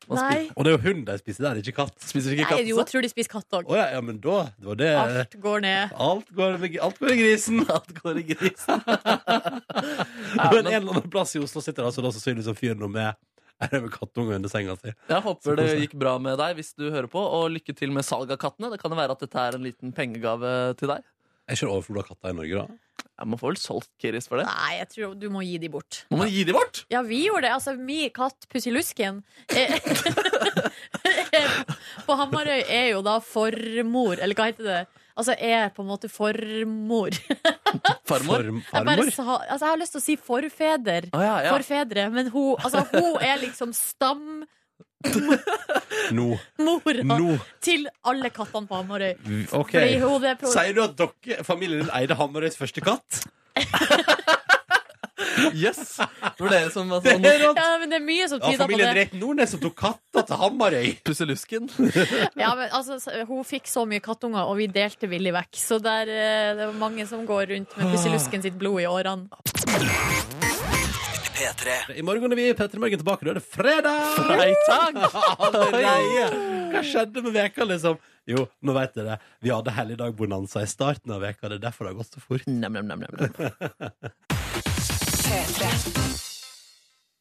Speaker 6: Man
Speaker 2: Nei.
Speaker 1: Og det er jo hund de spiser der, ikke katt.
Speaker 6: Spiser ikke
Speaker 2: Nei,
Speaker 6: katt
Speaker 2: jo, jeg tror de spiser katt
Speaker 1: Å
Speaker 2: òg.
Speaker 1: ja, ja, men da det var det
Speaker 2: Alt går ned.
Speaker 1: Alt går, alt går i grisen.
Speaker 6: Alt går i grisen.
Speaker 1: men en eller annen plass i Oslo sitter det altså da sannsynligvis en fyr nå med Her er med kattunge under senga si.
Speaker 6: Jeg håper
Speaker 1: Så
Speaker 6: det
Speaker 1: koselig.
Speaker 6: gikk bra med deg hvis du hører på, og lykke til med salg av kattene. Det kan jo være at dette er en liten pengegave til deg.
Speaker 1: Er ikke det overflod av katter i Norge, da?
Speaker 6: Jeg må få vel solgt Kiris for det.
Speaker 2: Nei, jeg tror du må gi de bort.
Speaker 6: Må man gi de bort?
Speaker 2: Ja, vi gjorde det. Altså, min katt Pussilusken eh, på Hamarøy er jo da formor, eller hva heter det? Altså er på en måte formor.
Speaker 6: Farmor?
Speaker 1: Form,
Speaker 2: Jeg, bare sa, altså, jeg har lyst til å si forfeder.
Speaker 6: Å, ja, ja.
Speaker 2: Forfedre. Men hun, altså, hun er liksom stammora
Speaker 1: Nå. Nå.
Speaker 2: til alle kattene på Hamarøy.
Speaker 1: Ok.
Speaker 2: Fordi hun, det er pro-
Speaker 1: Sier du at dere, familien din eide Hamarøys første katt?
Speaker 6: Yes! Det var dere som var
Speaker 1: Det
Speaker 6: sånn
Speaker 1: er rått!
Speaker 2: Ja, men det er mye som
Speaker 1: Ja,
Speaker 2: tyder på
Speaker 1: familien
Speaker 2: det.
Speaker 1: Dreit Nordnes som tok katta til Hamarøy.
Speaker 6: Pusselusken.
Speaker 2: Ja, men altså, så- Hun fikk så mye kattunger, og vi delte villig vekk. Så der, eh, det er mange som går rundt med pusselusken sitt blod i årene.
Speaker 4: P3.
Speaker 1: I morgen er vi i Petter Morgen tilbake. Da er det fredag!
Speaker 6: Freitag!
Speaker 1: Allerede. Hva skjedde med veka, liksom? Jo, nå vet jeg det. Vi hadde helligdagbonanza i starten av veka. Det er derfor det har gått så fort.
Speaker 6: Nam, nam, nam, nam, nam.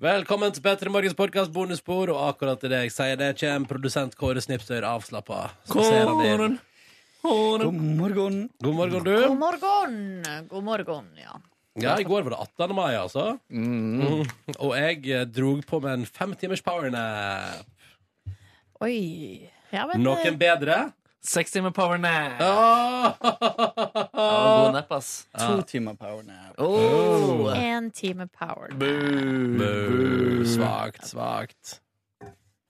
Speaker 1: Velkommen til Petter Morgens podkast bonusspor, og akkurat til det jeg sier det, kommer produsent Kåre Snipsøyr avslappa. Så ser han inn.
Speaker 6: Kåren. Kåren.
Speaker 3: morgen.
Speaker 1: God morgen,
Speaker 2: God
Speaker 1: du.
Speaker 2: morgen! God morgen, ja.
Speaker 1: Ja, I går var det 18. mai, altså. Mm. Og jeg eh, drog på med en fem timers powernap.
Speaker 2: Oi. Ja, men,
Speaker 1: Noen
Speaker 2: eh,
Speaker 1: bedre?
Speaker 6: Seks timer power nap. Ja, god
Speaker 1: Ah!
Speaker 6: nap, ass.
Speaker 7: To timer powernap.
Speaker 6: Oh.
Speaker 2: en time power.
Speaker 1: Boo. Svakt, svakt.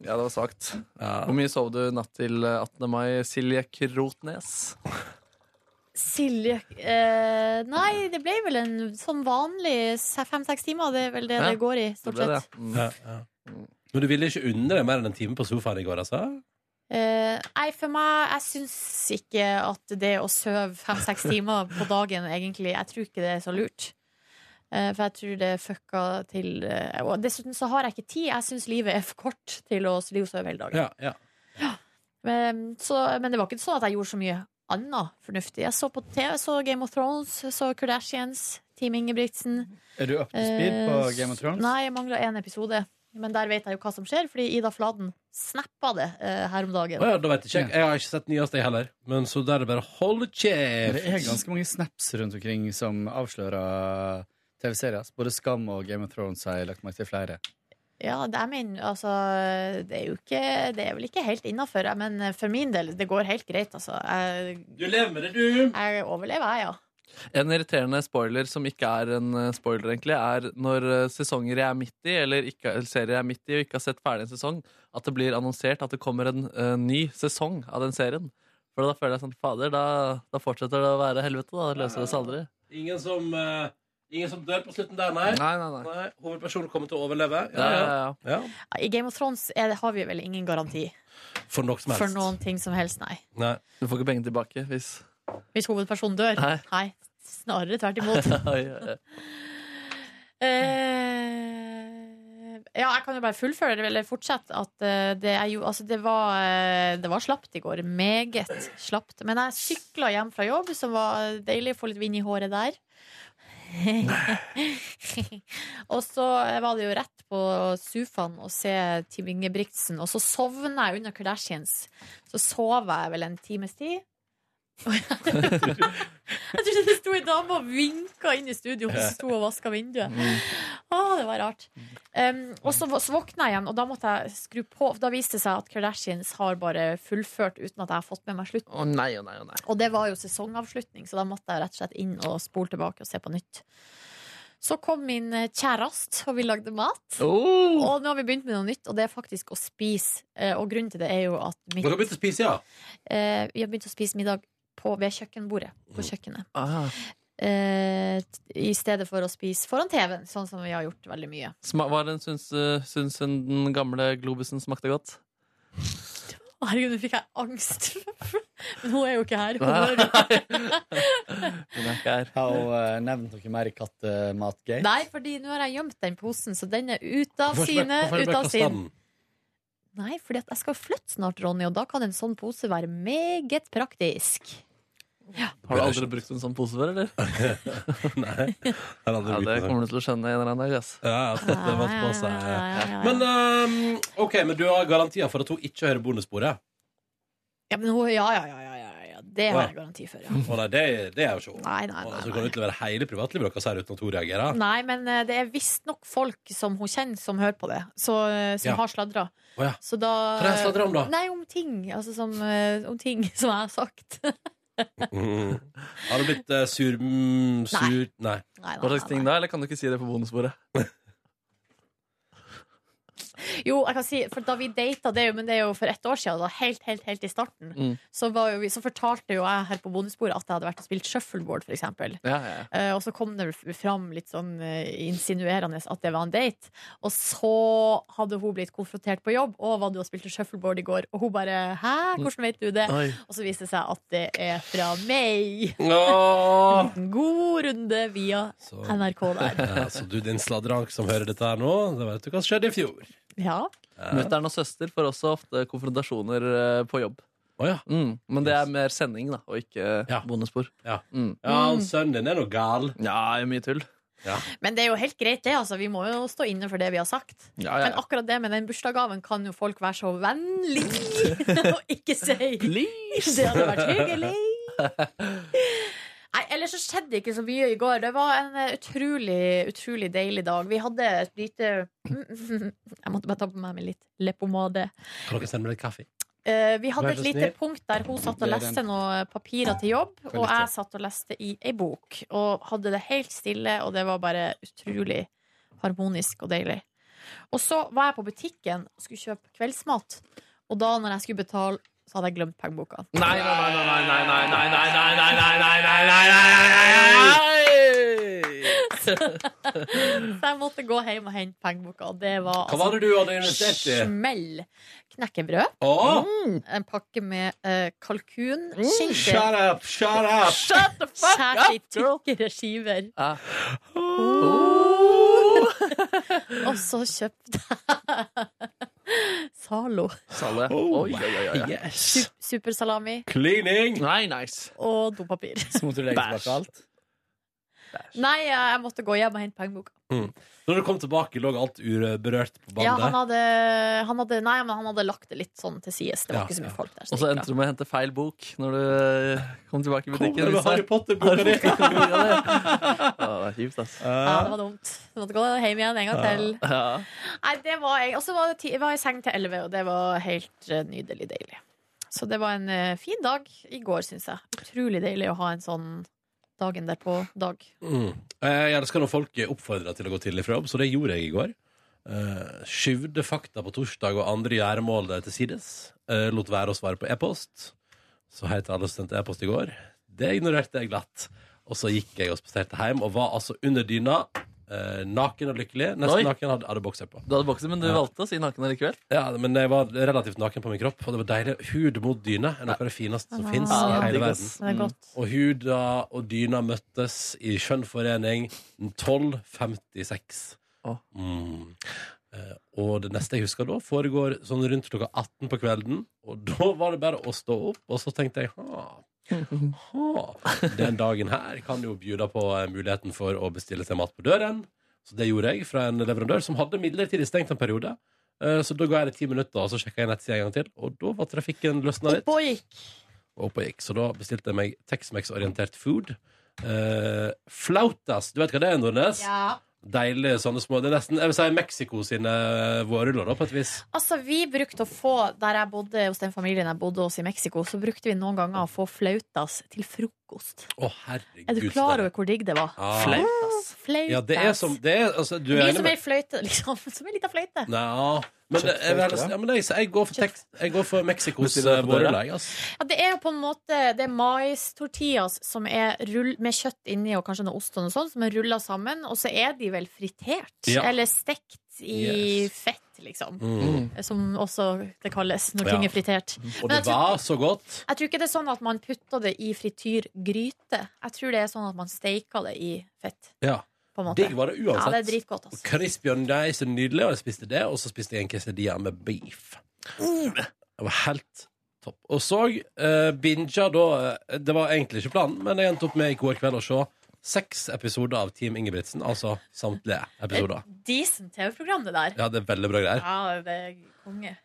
Speaker 6: Ja, det var svakt.
Speaker 1: Ja.
Speaker 6: Hvor mye sov du natt til eh, 18. mai, Silje Krotnes?
Speaker 2: Silje eh, Nei, det ble vel en sånn vanlig se- fem-seks timer. Det er vel det
Speaker 6: Ja,
Speaker 2: det går i,
Speaker 6: Det
Speaker 2: stort
Speaker 6: ble det.
Speaker 2: sett.
Speaker 6: Mm.
Speaker 1: Ja, ja. Men du ville ikke unne deg mer enn en time på sofaen i går, altså?
Speaker 2: Eh, nei, for meg Jeg syns ikke at det å sove fem-seks timer på dagen, egentlig Jeg tror ikke det er så lurt. Eh, for jeg tror det fucka til eh, Og dessuten så har jeg ikke tid. Jeg syns livet er for kort til å ligge og sove hele dagen.
Speaker 1: Ja, ja.
Speaker 2: Men, så, men det var ikke sånn at jeg gjorde så mye annet fornuftig. Jeg så på TV, så Game of Thrones, så Kardashians, Team Ingebrigtsen.
Speaker 7: Er du up to speed på
Speaker 2: Eh,
Speaker 7: Game of Thrones?
Speaker 2: Nei, jeg mangla én episode. Men der vet jeg jo hva som skjer, fordi Ida Fladen snappa det eh, her om dagen.
Speaker 1: Å ja, da vet jeg ikke. Jeg har ikke sett nyeste, jeg heller. Men så der er det bare hold
Speaker 7: Det er
Speaker 1: kjeft.
Speaker 7: ganske mange snaps rundt omkring som avslører TV-serier. Både Skam og Game of Thrones har jeg lagt merke til flere.
Speaker 2: Ja, det er min, altså, det er jo ikke Det er vel ikke helt innafor, men eh, for min del, det går helt greit, altså. Jeg,
Speaker 1: Du lever med det, du.
Speaker 2: jeg overlever, jeg, ja.
Speaker 6: En irriterende spoiler som ikke er en eh, spoiler, egentlig, er når eh, sesonger jeg er midt i, eller ikke, eller serier jeg er midt i og ikke har sett ferdig en sesong, at det blir annonsert at det kommer en eh, ny sesong av den serien. For da føler jeg sånn Fader, da, da fortsetter det å være helvete. Da det løser det seg aldri.
Speaker 1: Ingen som, eh, ingen som dør på slutten der, nei.
Speaker 6: Nei, nei, nei.
Speaker 1: nei. Hovedpersonen kommer til å overleve.
Speaker 6: Ja, ja, ja.
Speaker 1: ja.
Speaker 2: I Game of Thrones er, det- har vi vel ingen garanti
Speaker 1: For noe som helst.
Speaker 2: for noen ting som helst, nei.
Speaker 1: Nei.
Speaker 6: Du får ikke pengene tilbake hvis
Speaker 2: Hvis hovedpersonen dør.
Speaker 6: Nei.
Speaker 2: snarere tvert imot.
Speaker 6: Oi, oi, oi.
Speaker 2: eh, ja, jeg kan jo bare fullføre det, eller fortsette at eh, det er jo Altså, det var, eh, det var slapt i går. Meget slapt. Men jeg sykla hjem fra jobb, som var deilig å få litt vind i håret der. og så var det jo rett på sofaen å se Tim Ingebrigtsen, og så sovna jeg under Kardashians. Så sov jeg vel en times tid. Jeg trodde det sto ei dame og vinka inn i studio og sto og vaska vinduet.
Speaker 1: Mm.
Speaker 2: Å, det var rart. Um, og så, så våkna jeg igjen, og da måtte jeg skru på. For da viste det seg at Kardashians har bare fullført uten at jeg har fått med meg slutten.
Speaker 6: Å nei, å nei, å nei.
Speaker 2: Og det var jo sesongavslutning, så da måtte jeg rett og slett inn og spole tilbake og se på nytt. Så kom min kjæreste, og vi lagde mat.
Speaker 6: Oh!
Speaker 2: Og nå har vi begynt med noe nytt, og det er faktisk å spise. Eh, Og grunnen til det er jo at mitt,
Speaker 1: Dere har begynt Oh. å spise, ja?
Speaker 2: eh, vi har begynt å spise middag på, ved kjøkkenbordet på kjøkkenet
Speaker 6: Ah,
Speaker 2: eh, t- i stedet for å spise foran TV-en, sånn som vi har gjort veldig mye.
Speaker 6: sma- var det en syns, eh, syns hun den gamle globusen smakte godt?
Speaker 2: Herregud, nå fikk jeg angst. Men hun er jo ikke her. Hun
Speaker 6: Nei.
Speaker 2: hører ikke.
Speaker 6: Hun er ikke her.
Speaker 7: Har hun eh, nevnt noe mer i kattematgate?
Speaker 2: Nei, fordi nå har jeg gjemt den posen, så den er ute av
Speaker 1: Hvorfor-
Speaker 2: sine.
Speaker 1: hvorfor er det
Speaker 2: Ut
Speaker 1: bare
Speaker 2: av sin.
Speaker 1: kastanen?
Speaker 2: Nei, fordi at jeg skal flytte snart, Ronny, og da kan en sånn pose være meget praktisk.
Speaker 6: Har du aldri brukt en sånn pose før, eller?
Speaker 1: Nei. Jeg har aldri
Speaker 6: Ja,
Speaker 1: brukt
Speaker 6: det
Speaker 1: den.
Speaker 6: kommer du til å skjønne en eller annen dag. ass.
Speaker 1: Ja, ja, at dette er vant på seg.
Speaker 2: ja.
Speaker 1: Men ehm, OK, men du har garantier for at hun ikke hører bonussporet?
Speaker 2: Ja, men hun, ja, ja, ja, ja, ja, ja. Det har jeg garanti for, ja.
Speaker 1: Å nei, det, det er jo ikke hun.
Speaker 2: Nei, nei,
Speaker 1: Å,
Speaker 2: nei.
Speaker 1: Så kan du utlevere hele privatlivet deres her uten at hun reagerer?
Speaker 2: Nei, men eh, det er visstnok folk som hun kjenner, som hører på det. Så, eh, som
Speaker 1: Ja.
Speaker 2: har sladra.
Speaker 1: Å ja.
Speaker 2: Så da
Speaker 1: Hva er det jeg sladrer om da?
Speaker 2: Nei, om ting. Altså som, eh, om ting som jeg har sagt. nei,
Speaker 1: Mm. Har du blitt eh, sur, mm, sur Nei.
Speaker 2: nei,
Speaker 6: Hva slags
Speaker 2: nei,
Speaker 6: ting da, eller kan du ikke si det på bonusbordet?
Speaker 2: nei. Jo, jeg kan si, for da vi data, det er jo, men det er jo for ett år siden, da, helt, helt, helt i starten,
Speaker 6: Mm.
Speaker 2: så, var jo, vi- så fortalte jo jeg her på bonusbordet at jeg hadde vært og spilt shuffleboard, for eksempel.
Speaker 6: Ja, ja, ja.
Speaker 2: Eh, og så kom det f- fram litt sånn eh, insinuerende at det var en date. Og så hadde hun blitt konfrontert på jobb. 'Å, hva du har spilt shuffleboard i går?' Og hun bare 'hæ, hvordan vet du det?'
Speaker 6: Oi.
Speaker 2: Og så viste det seg at det er fra meg.
Speaker 1: Åh!
Speaker 2: En god runde via
Speaker 1: Så,
Speaker 2: NRK der.
Speaker 1: ja, så du, din sladrank som hører dette her nå, det vet du hva som skjedde i fjor.
Speaker 2: Ja.
Speaker 6: Mutter'n og søster får også ofte konfrontasjoner eh, på jobb.
Speaker 1: Å ja.
Speaker 6: Mm. Men det er mer sending, da, og ikke eh,
Speaker 1: Ja.
Speaker 6: bonusspor.
Speaker 1: Ja.
Speaker 6: Mm.
Speaker 1: ja, han sønnen din er noe gal.
Speaker 6: ja, det er mye tull.
Speaker 2: Men det er jo helt greit, det. altså Vi må jo stå inne for det vi har sagt.
Speaker 6: Ja, ja,
Speaker 2: Men akkurat det med den bursdagsgaven kan jo folk være så vennlige og ikke si.
Speaker 6: Please!
Speaker 2: Det hadde vært hyggelig. Nei, ellers så skjedde ikke så mye i går. Det var en eh, utrolig, utrolig deilig dag. Vi hadde et lite Jeg måtte bare ta på meg med litt leppepomade.
Speaker 1: Kan dere sende meg litt kaffe?
Speaker 2: Eh, Vi hadde
Speaker 1: Vær så
Speaker 2: et lite
Speaker 1: snill.
Speaker 2: punkt der hun satt og
Speaker 7: Det er
Speaker 2: leste
Speaker 7: den.
Speaker 2: noen papirer til jobb,
Speaker 7: Kan
Speaker 2: og
Speaker 7: litt
Speaker 2: jeg satt og leste i ei bok. Og hadde det helt stille, og det var bare utrolig harmonisk og deilig. Og så var jeg på butikken og skulle kjøpe kveldsmat, og da når jeg skulle betale, så hadde jeg glemt pengeboka.
Speaker 6: Nei, nei, nei, nei, nei, nei, nei, nei, nei, nei, nei, nei, nei,
Speaker 2: Så jeg måtte gå hjem og hente pengeboka, og det var altså
Speaker 1: Hva var det du hadde investert i?
Speaker 2: smell. Knekkebrød,
Speaker 1: Åh!
Speaker 2: en pakke med eh, kalkun,
Speaker 1: Mm, Shut
Speaker 2: skinke,
Speaker 1: up, shut up!
Speaker 6: Shut the
Speaker 2: skåret i tykkere skiver.
Speaker 6: Ja.
Speaker 2: Og så kjøpte jeg Zalo.
Speaker 6: Sale.
Speaker 1: Oh,
Speaker 6: Oi, oi, oi, oi.
Speaker 1: Yes.
Speaker 2: Supersalami
Speaker 1: Cleaning!
Speaker 6: Nei, nice.
Speaker 2: og dopapir.
Speaker 7: Så måtte du legge
Speaker 6: Bæsj.
Speaker 7: tilbake alt.
Speaker 2: Nei, jeg måtte gå hjem og hente pengeboka.
Speaker 1: Når du kom tilbake, lå alt urberørt på
Speaker 2: Ja, han
Speaker 1: bandet.
Speaker 2: hadde, han hadde Nei, men han hadde lagt det litt sånn til sides. Det var
Speaker 1: Ja,
Speaker 2: ikke så mye
Speaker 1: ja.
Speaker 2: folk der.
Speaker 6: Og
Speaker 2: Så
Speaker 6: så
Speaker 2: det gikk
Speaker 6: endte du med å hente feil bok når du eh, kom tilbake i
Speaker 1: Kommer
Speaker 6: butikken.
Speaker 1: du med Harry Potter-boka di?
Speaker 6: Ja, det var kjipt, ass.
Speaker 2: bra. ja, det var dumt. Du måtte gå hjem igjen en gang til.
Speaker 6: Ja.
Speaker 2: Nei, det var jeg. Og så var, det ti- var jeg i seng til elleve, og det var helt eh, nydelig deilig. Så det var en eh, fin dag i går, syns jeg. Utrolig deilig å ha en sånn dagen derpå-dag.
Speaker 1: Mm. Jeg elsker når folk oppfordrer til å gå tidlig fra jobb, så det gjorde jeg i går. Eh, skyvde fakta på torsdag og andre gjøremål der til sides. Eh, lot være å svare på e-post. Så hei til alle som sendte e-post i går. Det ignorerte jeg glatt. Og så gikk jeg og spaserte hjem og var altså under dyna. eh, naken og lykkelig. Nesten
Speaker 6: Oi.
Speaker 1: naken hadde, hadde bokser på.
Speaker 6: Du hadde bokser, men du
Speaker 1: Ja.
Speaker 6: valgte å si naken likevel.
Speaker 1: Ja, men jeg var relativt naken på min kropp, og det var deilig. Hud mot dyne er noe av det fineste som fins
Speaker 6: Ja,
Speaker 1: i
Speaker 6: digg,
Speaker 1: hele verden. Mm.
Speaker 6: ass.
Speaker 2: Det er godt.
Speaker 1: Og huda og dyna møttes i skjønn forening 12.56.
Speaker 6: Åh.
Speaker 1: Mm. Eh, Og det neste jeg husker da, foregår sånn rundt klokka 18 på kvelden. Og da var det bare å stå opp, og så tenkte jeg ha, ha. Den dagen her kan jo bjuda på eh, muligheten for å bestille seg mat på døren. Så det gjorde jeg fra en leverandør som hadde midlertidig stengt en periode. Eh, Så da ga jeg det ti minutter, og så sjekka jeg nettsida en gang til. Og da var trafikken løsna litt
Speaker 2: Opp og gikk.
Speaker 1: og opp og gikk. Så da bestilte jeg meg Tex-Mex-orientert food. Eh, flautas, du vet hva det er, Nordnes?
Speaker 2: Ja.
Speaker 1: Deilige sånne små Det er nesten jeg vil si Mexico sine eh, vårruller, da, på et vis.
Speaker 2: Altså, vi brukte å få, der jeg bodde hos den familien jeg bodde hos i Mexico, så brukte vi noen ganger å få flautas til frokost.
Speaker 1: Å, herregud.
Speaker 2: Er du
Speaker 1: så
Speaker 2: klar
Speaker 1: deilig.
Speaker 2: over hvor digg det var?
Speaker 1: Ja.
Speaker 6: Flautas.
Speaker 2: Flautas.
Speaker 1: Ja, det er som det er, altså, Du
Speaker 2: Vi
Speaker 1: er enig
Speaker 2: som er i
Speaker 1: med
Speaker 2: fløyte, liksom. Som en liten fløyte.
Speaker 1: Nei, ja. men, jeg, vil heller si- ja, men jeg, jeg går for, Tex- jeg går for Mexicos eh, vårruller, jeg, altså.
Speaker 2: Ja, det er jo på en måte Det er mais-tortillas som er rull, med kjøtt inni og kanskje noe ost og noe sånt, som er rulla sammen, og så er de vel fritert?
Speaker 1: Ja.
Speaker 2: Eller stekt i
Speaker 1: Yes.
Speaker 2: fett, liksom.
Speaker 1: Mm.
Speaker 2: Som også det kalles når
Speaker 1: Ja.
Speaker 2: ting er fritert.
Speaker 1: Og
Speaker 2: Men
Speaker 1: det
Speaker 2: altså- jeg tror-
Speaker 1: var så godt.
Speaker 2: Jeg tror ikke det er sånn at man putter det i frityrgryte. Jeg tror det er sånn at man steiker det i fett.
Speaker 1: Ja.
Speaker 2: På en måte.
Speaker 1: Digg var det
Speaker 2: Ja, det er
Speaker 1: uansett.
Speaker 2: dritgodt. Altså.
Speaker 1: Crispy and nice og nydelig, og jeg spiste det. Og så spiste jeg en quesadilla med beef. Det var helt Topp. Og så uh, binga da eh, Det var egentlig ikke planen, men jeg endte opp med i går kveld å se seks episoder av Team Ingebrigtsen. Altså samtlige episoder.
Speaker 2: Decent TV-program, det der.
Speaker 1: Ja, det er veldig bra greier.
Speaker 2: Ja, det er konge.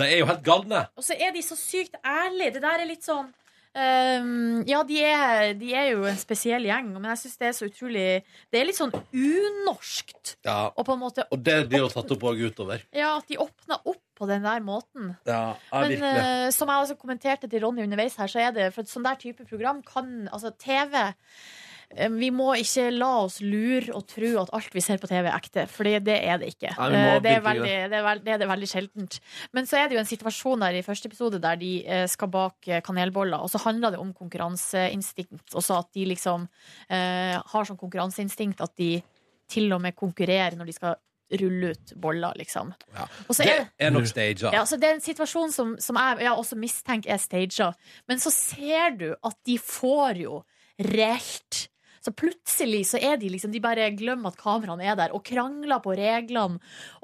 Speaker 1: De er jo helt galne!
Speaker 2: Og så er de så sykt ærlige. Det der er litt sånn ehm, Ja, de er, de er jo en spesiell gjeng, men jeg syns det er så utrolig Det er litt sånn unorskt.
Speaker 1: Ja.
Speaker 2: Og på en måte
Speaker 1: Og det blir jo tatt opp òg utover.
Speaker 2: Ja, at de åpna opp på den der måten.
Speaker 1: Ja, ja
Speaker 2: Men
Speaker 1: virkelig.
Speaker 2: eh, som jeg også kommenterte til Ronny underveis her, så er det for et sånn der type program kan Altså, TV eh, vi må ikke la oss lure og tro at alt vi ser på TV er ekte, for det er det ikke.
Speaker 11: Nei, vi må
Speaker 2: Eh, det, er
Speaker 11: virkelig
Speaker 2: veldig, det, er veld, det er det veldig sjeldent. Men så er det jo en situasjon der i første episode der de eh, skal bake kanelboller, og så handler det om konkurranseinstinkt. Også at de liksom eh, har sånn konkurranseinstinkt at de til og med konkurrerer når de skal rulle ut boller, liksom. Og så
Speaker 1: Det
Speaker 2: er-
Speaker 1: er nok staged.
Speaker 2: ja, så det er en situasjon som, som jeg ja, også mistenker er staged. Men så ser du at de får jo reelt Så plutselig så er de liksom De bare glemmer at kameraene er der, og krangler på reglene.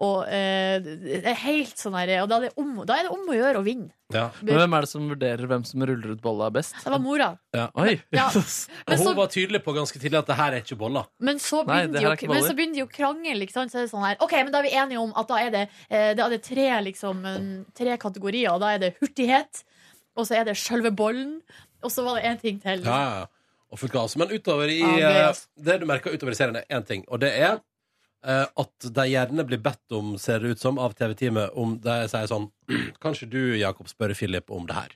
Speaker 2: Og eh, det er helt sånn her Og da er, det om, da er det om å gjøre å vinne.
Speaker 7: Men hvem er det som vurderer hvem som ruller ut bolla best?
Speaker 2: Det var mora.
Speaker 7: Oi!
Speaker 2: Ja.
Speaker 1: Og hun var tydelig på ganske tidlig at det her er ikke boller.
Speaker 2: Men så
Speaker 1: Nei,
Speaker 2: begynner,
Speaker 1: det
Speaker 2: de,
Speaker 1: her
Speaker 2: å,
Speaker 1: er ikke
Speaker 2: men
Speaker 1: boller.
Speaker 2: så begynner de å krangle. Ikke sant? Så er det sånn her, ok, men da er vi enige om at da er det, eh, da er det tre, liksom, eh, tre kategorier. Og da er det hurtighet, og så er det sjølve bollen, og så var det én ting til.
Speaker 1: Ja, ja, ja. Og fullt kaos. Men utover i,
Speaker 2: Ja, gøy, ass.
Speaker 1: eh, det du merker utover i serien, er én ting, og det er eh, at de gjerne blir bedt om, ser det ut som, av TV-teamet om de sier sånn Kanskje du, Jakob, spør Philip om det her?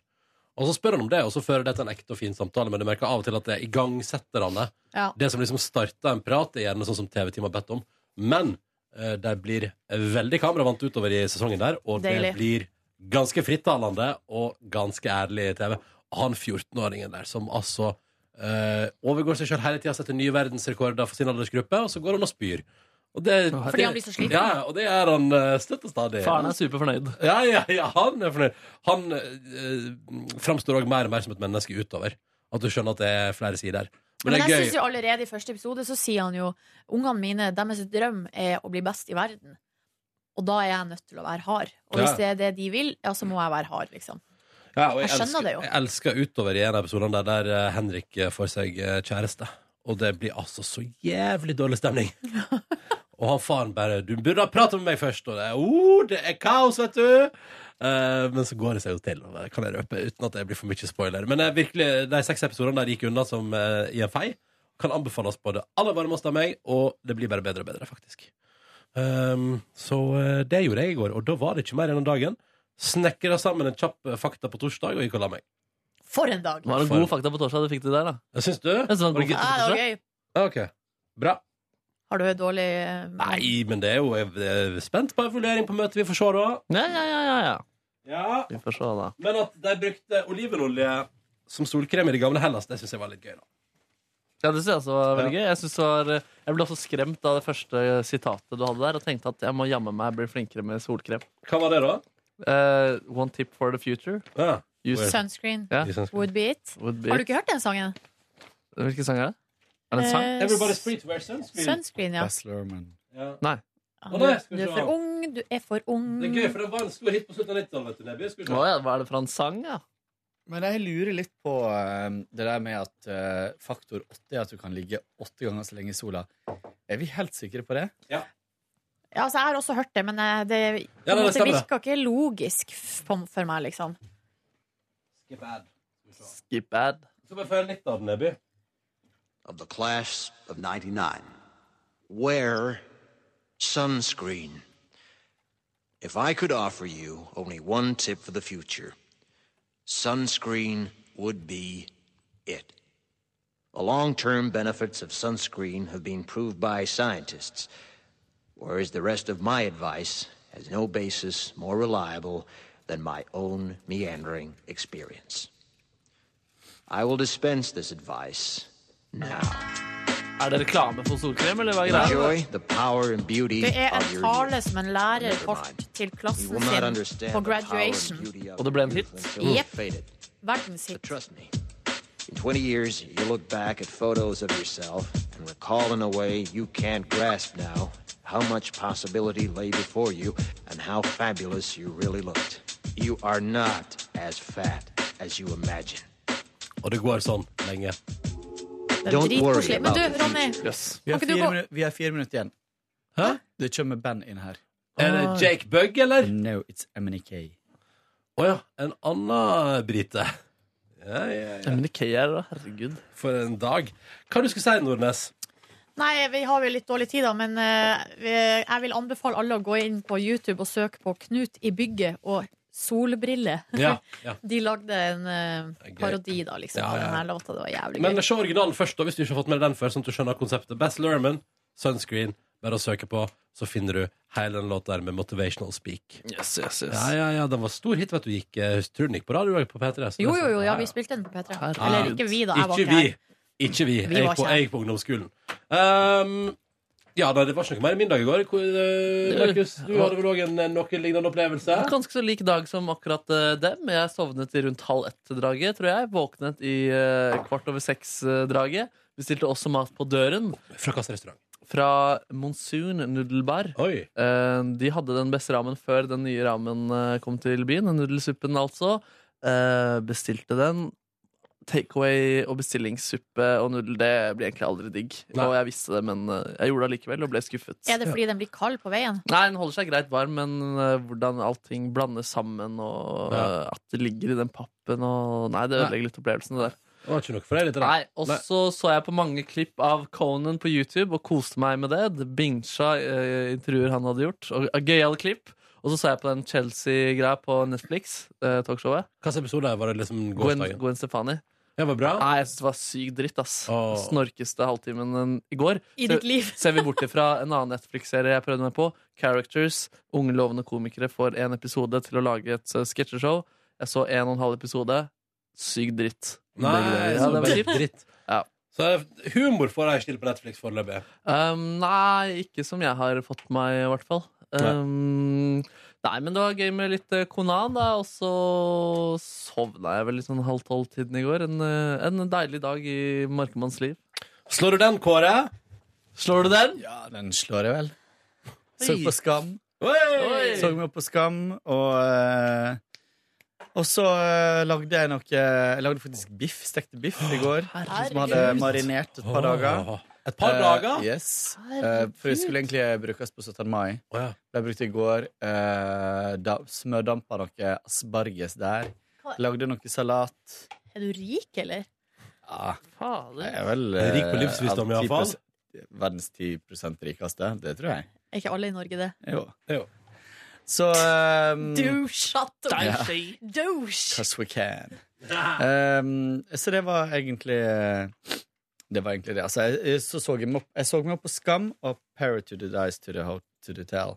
Speaker 1: Og så spør han om det, og så fører det til en ekte og fin samtale, men du merker av og til at det er igangsetterne,
Speaker 2: Ja.
Speaker 1: det som liksom starter en prat, det er gjerne sånn som TV-teamet har bedt om. Men eh, de blir veldig kameravant utover i sesongen der, og
Speaker 2: Deilig.
Speaker 1: det blir ganske frittalende og ganske ærlig TV. Han 14-åringen der som altså eh, overgår seg sjøl hele tida, setter nye verdensrekorder for sin aldersgruppe, og så går han og spyr. Og det,
Speaker 7: Fordi han blir så sliten.
Speaker 1: Ja, og det er han eh, støtt og stadig.
Speaker 7: Faren er superfornøyd.
Speaker 1: Ja, ja, ja, han er fornøyd. Han eh, framstår òg mer og mer som et menneske utover. At du skjønner at det er flere sider.
Speaker 2: Men, jeg synes jo allerede i første episode så sier han jo Ungene mine, deres drøm er å bli best i verden. Og da er jeg nødt til å være hard. Og hvis
Speaker 1: Ja.
Speaker 2: det er det de vil, ja, så må jeg være hard, liksom.
Speaker 1: Ja, og
Speaker 2: Jeg skjønner
Speaker 1: elsker,
Speaker 2: det jo.
Speaker 1: Jeg elsker utover i en av episodene der, der eh, Henrik eh, får seg eh, kjæreste. Og det blir altså så jævlig dårlig stemning. og han faren bare 'Du burde ha pratet med meg først.' Og det er, oh, det er kaos, vet du! Eh, men så går det seg jo til, og det kan jeg røpe uten at det blir for mye spoiler. Men eh, virkelig, de seks episodene der gikk unna som eh, i en fei. Kan anbefales på det aller varmeste av meg, og det blir bare bedre og bedre, faktisk. Um, så eh, det gjorde jeg i går, og da var det ikke mer enn om dagen. Snekra sammen en kjapp eh, fakta på torsdag og gikk og la meg.
Speaker 2: For en dag!
Speaker 7: Var det god fakta på torsdag du fikk til der, da?
Speaker 1: Jeg syns du?
Speaker 7: Jeg synes det sånn var god
Speaker 2: Ja,
Speaker 7: fakta på
Speaker 2: det var
Speaker 7: torsdag.
Speaker 2: gøy.
Speaker 1: Ok, bra.
Speaker 2: Har du et dårlig eh,
Speaker 1: Nei, men det er jo jeg er spent på en vurdering på møtet vi får se da.
Speaker 7: Ja, ja, ja, ja, ja.
Speaker 1: Ja,
Speaker 7: Vi får se, da.
Speaker 1: Men at de brukte olivenolje som solkrem i det gamle Hellas, det syns jeg var litt gøy. da
Speaker 7: Ja, det synes jeg også var veldig gøy. Jeg, synes det var, eh, jeg ble også skremt av det første sitatet du hadde der, og tenkte at jeg må jammen meg bli flinkere med solkrem. Eh,
Speaker 1: Hva var det, da?
Speaker 7: one tip for the future.
Speaker 2: Weird. Sunscreen.
Speaker 7: Ja.
Speaker 2: Would be it.
Speaker 7: Would be
Speaker 2: Har du
Speaker 7: it.
Speaker 2: ikke hørt den sangen?
Speaker 7: Hvilken sang er det? Er det en sang?
Speaker 2: Eh, Everybody's free to wear sunscreen. Eh, sunscreen, ja. Baz
Speaker 7: Nei.
Speaker 1: Å, nei, skal
Speaker 2: Du
Speaker 1: vi
Speaker 2: er
Speaker 1: se.
Speaker 2: for ung, du er for ung.
Speaker 1: Det er gøy, for det var en stor hit på slutten av 90-tallet. vet du, Neby. Skal vi se.
Speaker 7: Å ja, hva er det for en sang, ja?
Speaker 3: Men jeg lurer litt på eh, det der med at eh, faktor åtte er at du kan ligge åtte ganger så lenge i sola. Er vi helt sikre på det?
Speaker 2: Ja, altså, jeg har også hørt det, men eh, det,
Speaker 3: Ja, nei, det
Speaker 2: det
Speaker 3: stemmer, det.
Speaker 2: virka ikke logisk f- på, for meg, liksom.
Speaker 1: Skip ad.
Speaker 7: Skip ad.
Speaker 1: Skal vi få høre litt av den, Neby?
Speaker 6: Of the class of 99. Wear sunscreen. If I could offer you only one tip for the future, sunscreen would be it. The long term benefits of sunscreen have been proved by scientists, whereas the rest of my advice has no basis more reliable than my own meandering experience. I will dispense this advice
Speaker 7: Er det reklame for solkrem, eller hva er
Speaker 6: Enjoy
Speaker 7: greia?
Speaker 6: the power and beauty
Speaker 2: Det er
Speaker 6: of
Speaker 2: en
Speaker 6: your
Speaker 2: tale som en lærer holdt til
Speaker 6: You
Speaker 2: klassen
Speaker 6: will not
Speaker 2: sin
Speaker 6: understand
Speaker 2: på
Speaker 6: the power and
Speaker 2: graduation.
Speaker 6: beauty of
Speaker 7: Og det ble en hit.
Speaker 6: until
Speaker 2: Yep.
Speaker 6: faded.
Speaker 2: Verdenshit.
Speaker 6: In 20 years, you look back at photos of yourself and recall in a way you can't grasp now how much possibility lay before you and how fabulous you really looked. You are not as fat as you imagine.
Speaker 1: Og det går sånn lenge.
Speaker 2: Det er dritkoselig. Men du, Ronny,
Speaker 7: Vi
Speaker 2: kan
Speaker 7: har
Speaker 2: ikke du
Speaker 7: fire,
Speaker 2: gå
Speaker 7: minu vi har fire minutter igjen.
Speaker 1: Hæ?
Speaker 7: Det kommer band inn her.
Speaker 1: Er det
Speaker 7: Ah.
Speaker 1: Jake Bugg, eller?
Speaker 7: No, it's MNK.
Speaker 1: Å ja. En annen brite. Ja, ja, ja.
Speaker 3: Men Ikea er da, herregud.
Speaker 1: For en dag. Hva du skulle si, Nordnes?
Speaker 2: Nei, vi har jo litt dårlig tid da, men eh, vi- jeg vil anbefale alle å gå inn på YouTube og søke på Knut i bygget og solbriller.
Speaker 1: Ja, ja.
Speaker 2: De lagde en eh,
Speaker 1: Gøy.
Speaker 2: parodi da, liksom,
Speaker 1: Ja,
Speaker 2: på
Speaker 1: ja, ja.
Speaker 2: den her låta. Det var jævlig
Speaker 1: Men
Speaker 2: gøy.
Speaker 1: se originalen først, da, hvis du ikke har fått med deg den før, sånn at du skjønner konseptet. Best Lerman, Sunscreen. Bare å søke på, så finner du hele den låta der med Motivational Speak.
Speaker 3: Yes, yes, yes.
Speaker 1: Ja, ja, ja, den var stor hit, vet du. Gikk, eh, tror den gikk på radio på P3. så
Speaker 2: Jo,
Speaker 1: det- sånn-
Speaker 2: jo, jo, ja, vi spilte den på P3.
Speaker 3: Herregud.
Speaker 2: Eller ikke vi, da. Jeg var
Speaker 1: Ikke
Speaker 2: ikke
Speaker 1: vi.
Speaker 2: her.
Speaker 1: Ikke vi.
Speaker 2: Vi
Speaker 1: Jeg
Speaker 2: var
Speaker 1: gikk på,
Speaker 2: ikke her.
Speaker 1: jeg gikk på ungdomsskolen. Ehm, ja, nei, det var ikke noe mer i min dag i går. Hvor, eh, Markus, du hadde vel òg en en noe lignende opplevelse?
Speaker 3: Ganske så lik dag som akkurat eh, dem. Jeg sovnet i rundt halv ett-draget, tror jeg. Våknet i eh, kvart over seks-draget. Bestilte også mat på døren
Speaker 1: Fra hvilken restaurant?
Speaker 3: fra Monsoon Nudelbar.
Speaker 1: Oi.
Speaker 3: Eh, De hadde den beste ramen før den nye ramen eh, kom til byen. Nudelsuppen, altså. Eh, Bestilte den. Takeaway og bestillingssuppe og nudel, det blir egentlig aldri digg.
Speaker 1: Nei.
Speaker 3: Og jeg visste det, men eh, jeg gjorde det allikevel og ble skuffet.
Speaker 2: Er det fordi den blir kald på veien?
Speaker 3: Nei, den holder seg greit varm, men eh, hvordan allting blandes sammen, og
Speaker 1: Ja.
Speaker 3: eh, at det ligger i den pappen og Nei, det
Speaker 1: Nei.
Speaker 3: ødelegger litt opplevelsen, det der.
Speaker 1: Det var ikke noe for deg, litt?
Speaker 3: Nei, Og så så jeg på mange klipp av Conan på YouTube og koste meg med det. Det Binsja eh, intervjuer han hadde gjort. Og og Gøyale klipp. Og så så jeg på den Chelsea-greia på Netflix, eh, talkshowet.
Speaker 1: Hvilken episode var det liksom
Speaker 3: Gwen,
Speaker 1: gårsdagen?
Speaker 3: Gwen Stefani.
Speaker 1: Det var bra?
Speaker 3: Nei, jeg syns det var sykt dritt, ass.
Speaker 1: Åh.
Speaker 3: Snorkeste halvtimen eh, i går.
Speaker 2: I
Speaker 3: Så-
Speaker 2: ditt liv?
Speaker 3: Ser vi bort ifra en annen Netflix-serie jeg prøvde meg på, Characters. Unge lovende komikere får en episode til å lage et eh, sketsjeshow. Jeg så en og en halv episode. Sykt dritt.
Speaker 1: Nei,
Speaker 3: Begge deler. ja,
Speaker 1: så
Speaker 3: det var
Speaker 1: dritt.
Speaker 3: kjipt.
Speaker 1: dritt.
Speaker 3: Ja.
Speaker 1: Så humor får jeg ikke til på Netflix foreløpig.
Speaker 3: Um, nei, ikke som jeg har fått med meg, i hvert fall. Um, nei, men det var gøy med litt eh, Konan, da. Og så sovna jeg vel litt sånn halv tolv-tiden i går. En, eh, en deilig dag i Markemanns liv.
Speaker 1: Slår du den, Kåre?
Speaker 3: Slår du den?
Speaker 7: Ja, den slår jeg vel. Søk på Skam.
Speaker 1: Oi!
Speaker 7: Så meg opp på Skam, og eh, Og så eh, lagde jeg noe Jeg lagde faktisk biff, stekte biff i går. Som hadde marinert et par dager.
Speaker 1: Åh, Et par dager?
Speaker 7: Eh, yes. Eh, for det skulle egentlig brukes på 17. mai.
Speaker 1: Å, ja.
Speaker 7: Ble brukt i går. Eh, da, smørdampa noe asparges der. Lagde noe salat.
Speaker 2: Er du rik, eller?
Speaker 7: Ja, jeg
Speaker 3: Fader.
Speaker 7: er vel
Speaker 1: Jeg er rik
Speaker 3: Eh,
Speaker 1: på livsvisdom, i hvert fall.
Speaker 7: Verdens 10 rikeste. Det tror jeg.
Speaker 2: Er ikke alle i Norge det?
Speaker 7: Jo.
Speaker 1: Jo.
Speaker 7: Så um,
Speaker 2: Do shut up!
Speaker 7: Ja.
Speaker 2: Douche!
Speaker 7: Cause we can. Um, så det var egentlig Det var egentlig det. Altså, jeg, jeg, så, så jeg, meg opp, jeg så meg opp på Skam og Parrot to the Dice to the, ho to the Tell.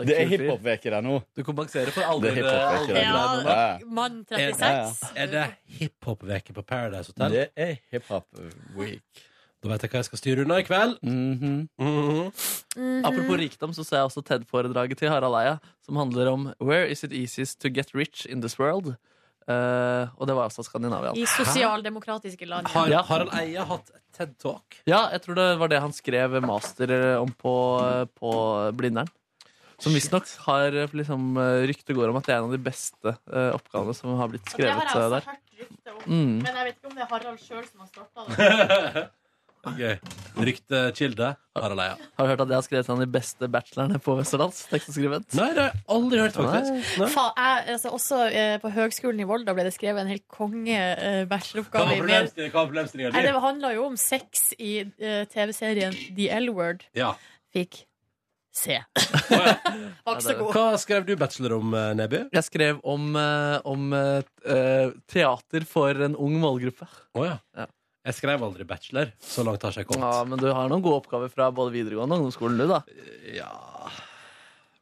Speaker 7: Det er hiphop-uke der nå.
Speaker 3: Du kompenserer for alle
Speaker 7: Det er hiphop-uke der nå.
Speaker 2: Ja,
Speaker 7: Ja,
Speaker 2: Mann
Speaker 7: Ja, ja.
Speaker 2: 36.
Speaker 1: Er det hiphop-veke på Paradise Hotel?
Speaker 7: Det er hiphop-week.
Speaker 1: Da vet jeg hva jeg skal styre unna i kveld.
Speaker 7: Mhm.
Speaker 1: Mhm.
Speaker 3: Apropos rikdom, så ser jeg også TED-foredraget til Harald Eia, som handler om Where is it easiest to get rich in this world? Eh, og det var altså Skandinavia.
Speaker 2: I sosialdemokratiske land. ja.
Speaker 1: Har
Speaker 3: Ja.
Speaker 1: Harald Eia hatt et TED Talk?
Speaker 3: Ja, jeg tror det var det han skrev master eh, om på, på Blindern. Som visstnok har eh, liksom, eh, ryktet går om at det er en av de beste eh, oppgavene som har blitt
Speaker 2: Og Det har
Speaker 3: skrevet
Speaker 2: jeg
Speaker 3: eh,
Speaker 2: også
Speaker 3: der.
Speaker 2: hørt rykte om.
Speaker 3: Mm.
Speaker 2: Men jeg vet ikke om det er Harald sjøl som har starta det.
Speaker 1: Gøy. Ryktekilde Harald Eia.
Speaker 3: Har du hørt at jeg har skrevet en av de beste bachelorene på Westerdals? Tekstskrivent.
Speaker 1: Nei, det har jeg aldri hørt, faktisk. Nei.
Speaker 2: Faen, jeg, altså, også eh, på Høgskolen i Volda ble det skrevet en helt konge eh,
Speaker 1: Hva
Speaker 2: bacheloroppgave.
Speaker 1: var
Speaker 2: i mer-
Speaker 1: problemstillinga- hva var problemstillinga
Speaker 2: Nei,
Speaker 1: di?
Speaker 2: det handla jo om sex i eh, TV-serien The L-Word.
Speaker 1: Ja.
Speaker 2: Fikk se. Var ikke
Speaker 3: Ja, det
Speaker 2: så
Speaker 3: er-
Speaker 2: god.
Speaker 1: Hva skrev du bachelor om, eh, Neby?
Speaker 3: Jeg skrev om, eh, om eh, eh, teater for en ung målgruppe.
Speaker 1: Å ja.
Speaker 3: Ja.
Speaker 1: Jeg skrev aldri bachelor. Så langt har ikke jeg
Speaker 3: Ja,
Speaker 1: kommet.
Speaker 3: men du har noen gode oppgaver fra både videregående og ungdomsskolen, du, da.
Speaker 1: Ja.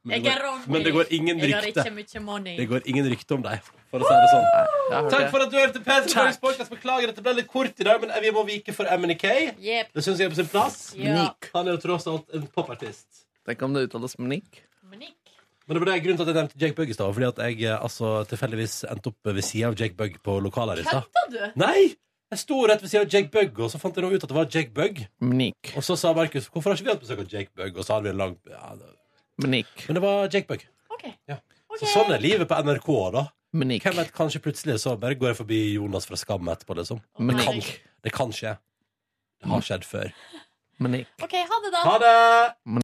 Speaker 1: Men,
Speaker 2: Jeg
Speaker 1: det
Speaker 2: er
Speaker 1: går,
Speaker 2: rånlig.
Speaker 1: men det går ingen
Speaker 2: Jeg har ikke
Speaker 1: rykte.
Speaker 2: mye money.
Speaker 1: Det går ingen rykte om deg, for å si det sånn.
Speaker 3: Jeg har hørt
Speaker 1: Takk
Speaker 3: det.
Speaker 1: for at du hørte Peter Morgens podcast. Beklager at det ble litt kort i dag, men vi må vike for MNK.
Speaker 2: Jepp.
Speaker 1: Det syns jeg er på sin plass.
Speaker 2: Ja.
Speaker 1: Han er jo tross alt en popartist.
Speaker 3: Tenk om det uttales Monique.
Speaker 2: Monique.
Speaker 1: Men det var det grunnen til at jeg nevnte Jake Bugg i stad. Fordi at jeg eh, altså, tilfeldigvis endte opp ved sida av Jake Bugg på lokalet her i stad.
Speaker 2: Kødda du?
Speaker 1: Nei! Jeg sto rett ved sida av Jake Bugg, og så fant jeg nå ut at det var Jake Bugg.
Speaker 3: Monique.
Speaker 1: Og så sa Markus hvorfor har ikke vi hatt besøk av Jake Bugg? Og så hadde vi en lang ja, det-
Speaker 3: Monique.
Speaker 1: Men det var Jake Bugg.
Speaker 2: OK.
Speaker 1: Ja. Så sånn er livet på NRK, da.
Speaker 6: Men
Speaker 1: Hvem vet, kanskje plutselig så bare går jeg forbi Jonas fra Skam etterpå, liksom.
Speaker 6: Men
Speaker 1: det, kan,
Speaker 6: Nick.
Speaker 1: det kan skje. Det har skjedd før.
Speaker 6: Men ikke.
Speaker 2: OK, ha det, da.
Speaker 1: Ha det!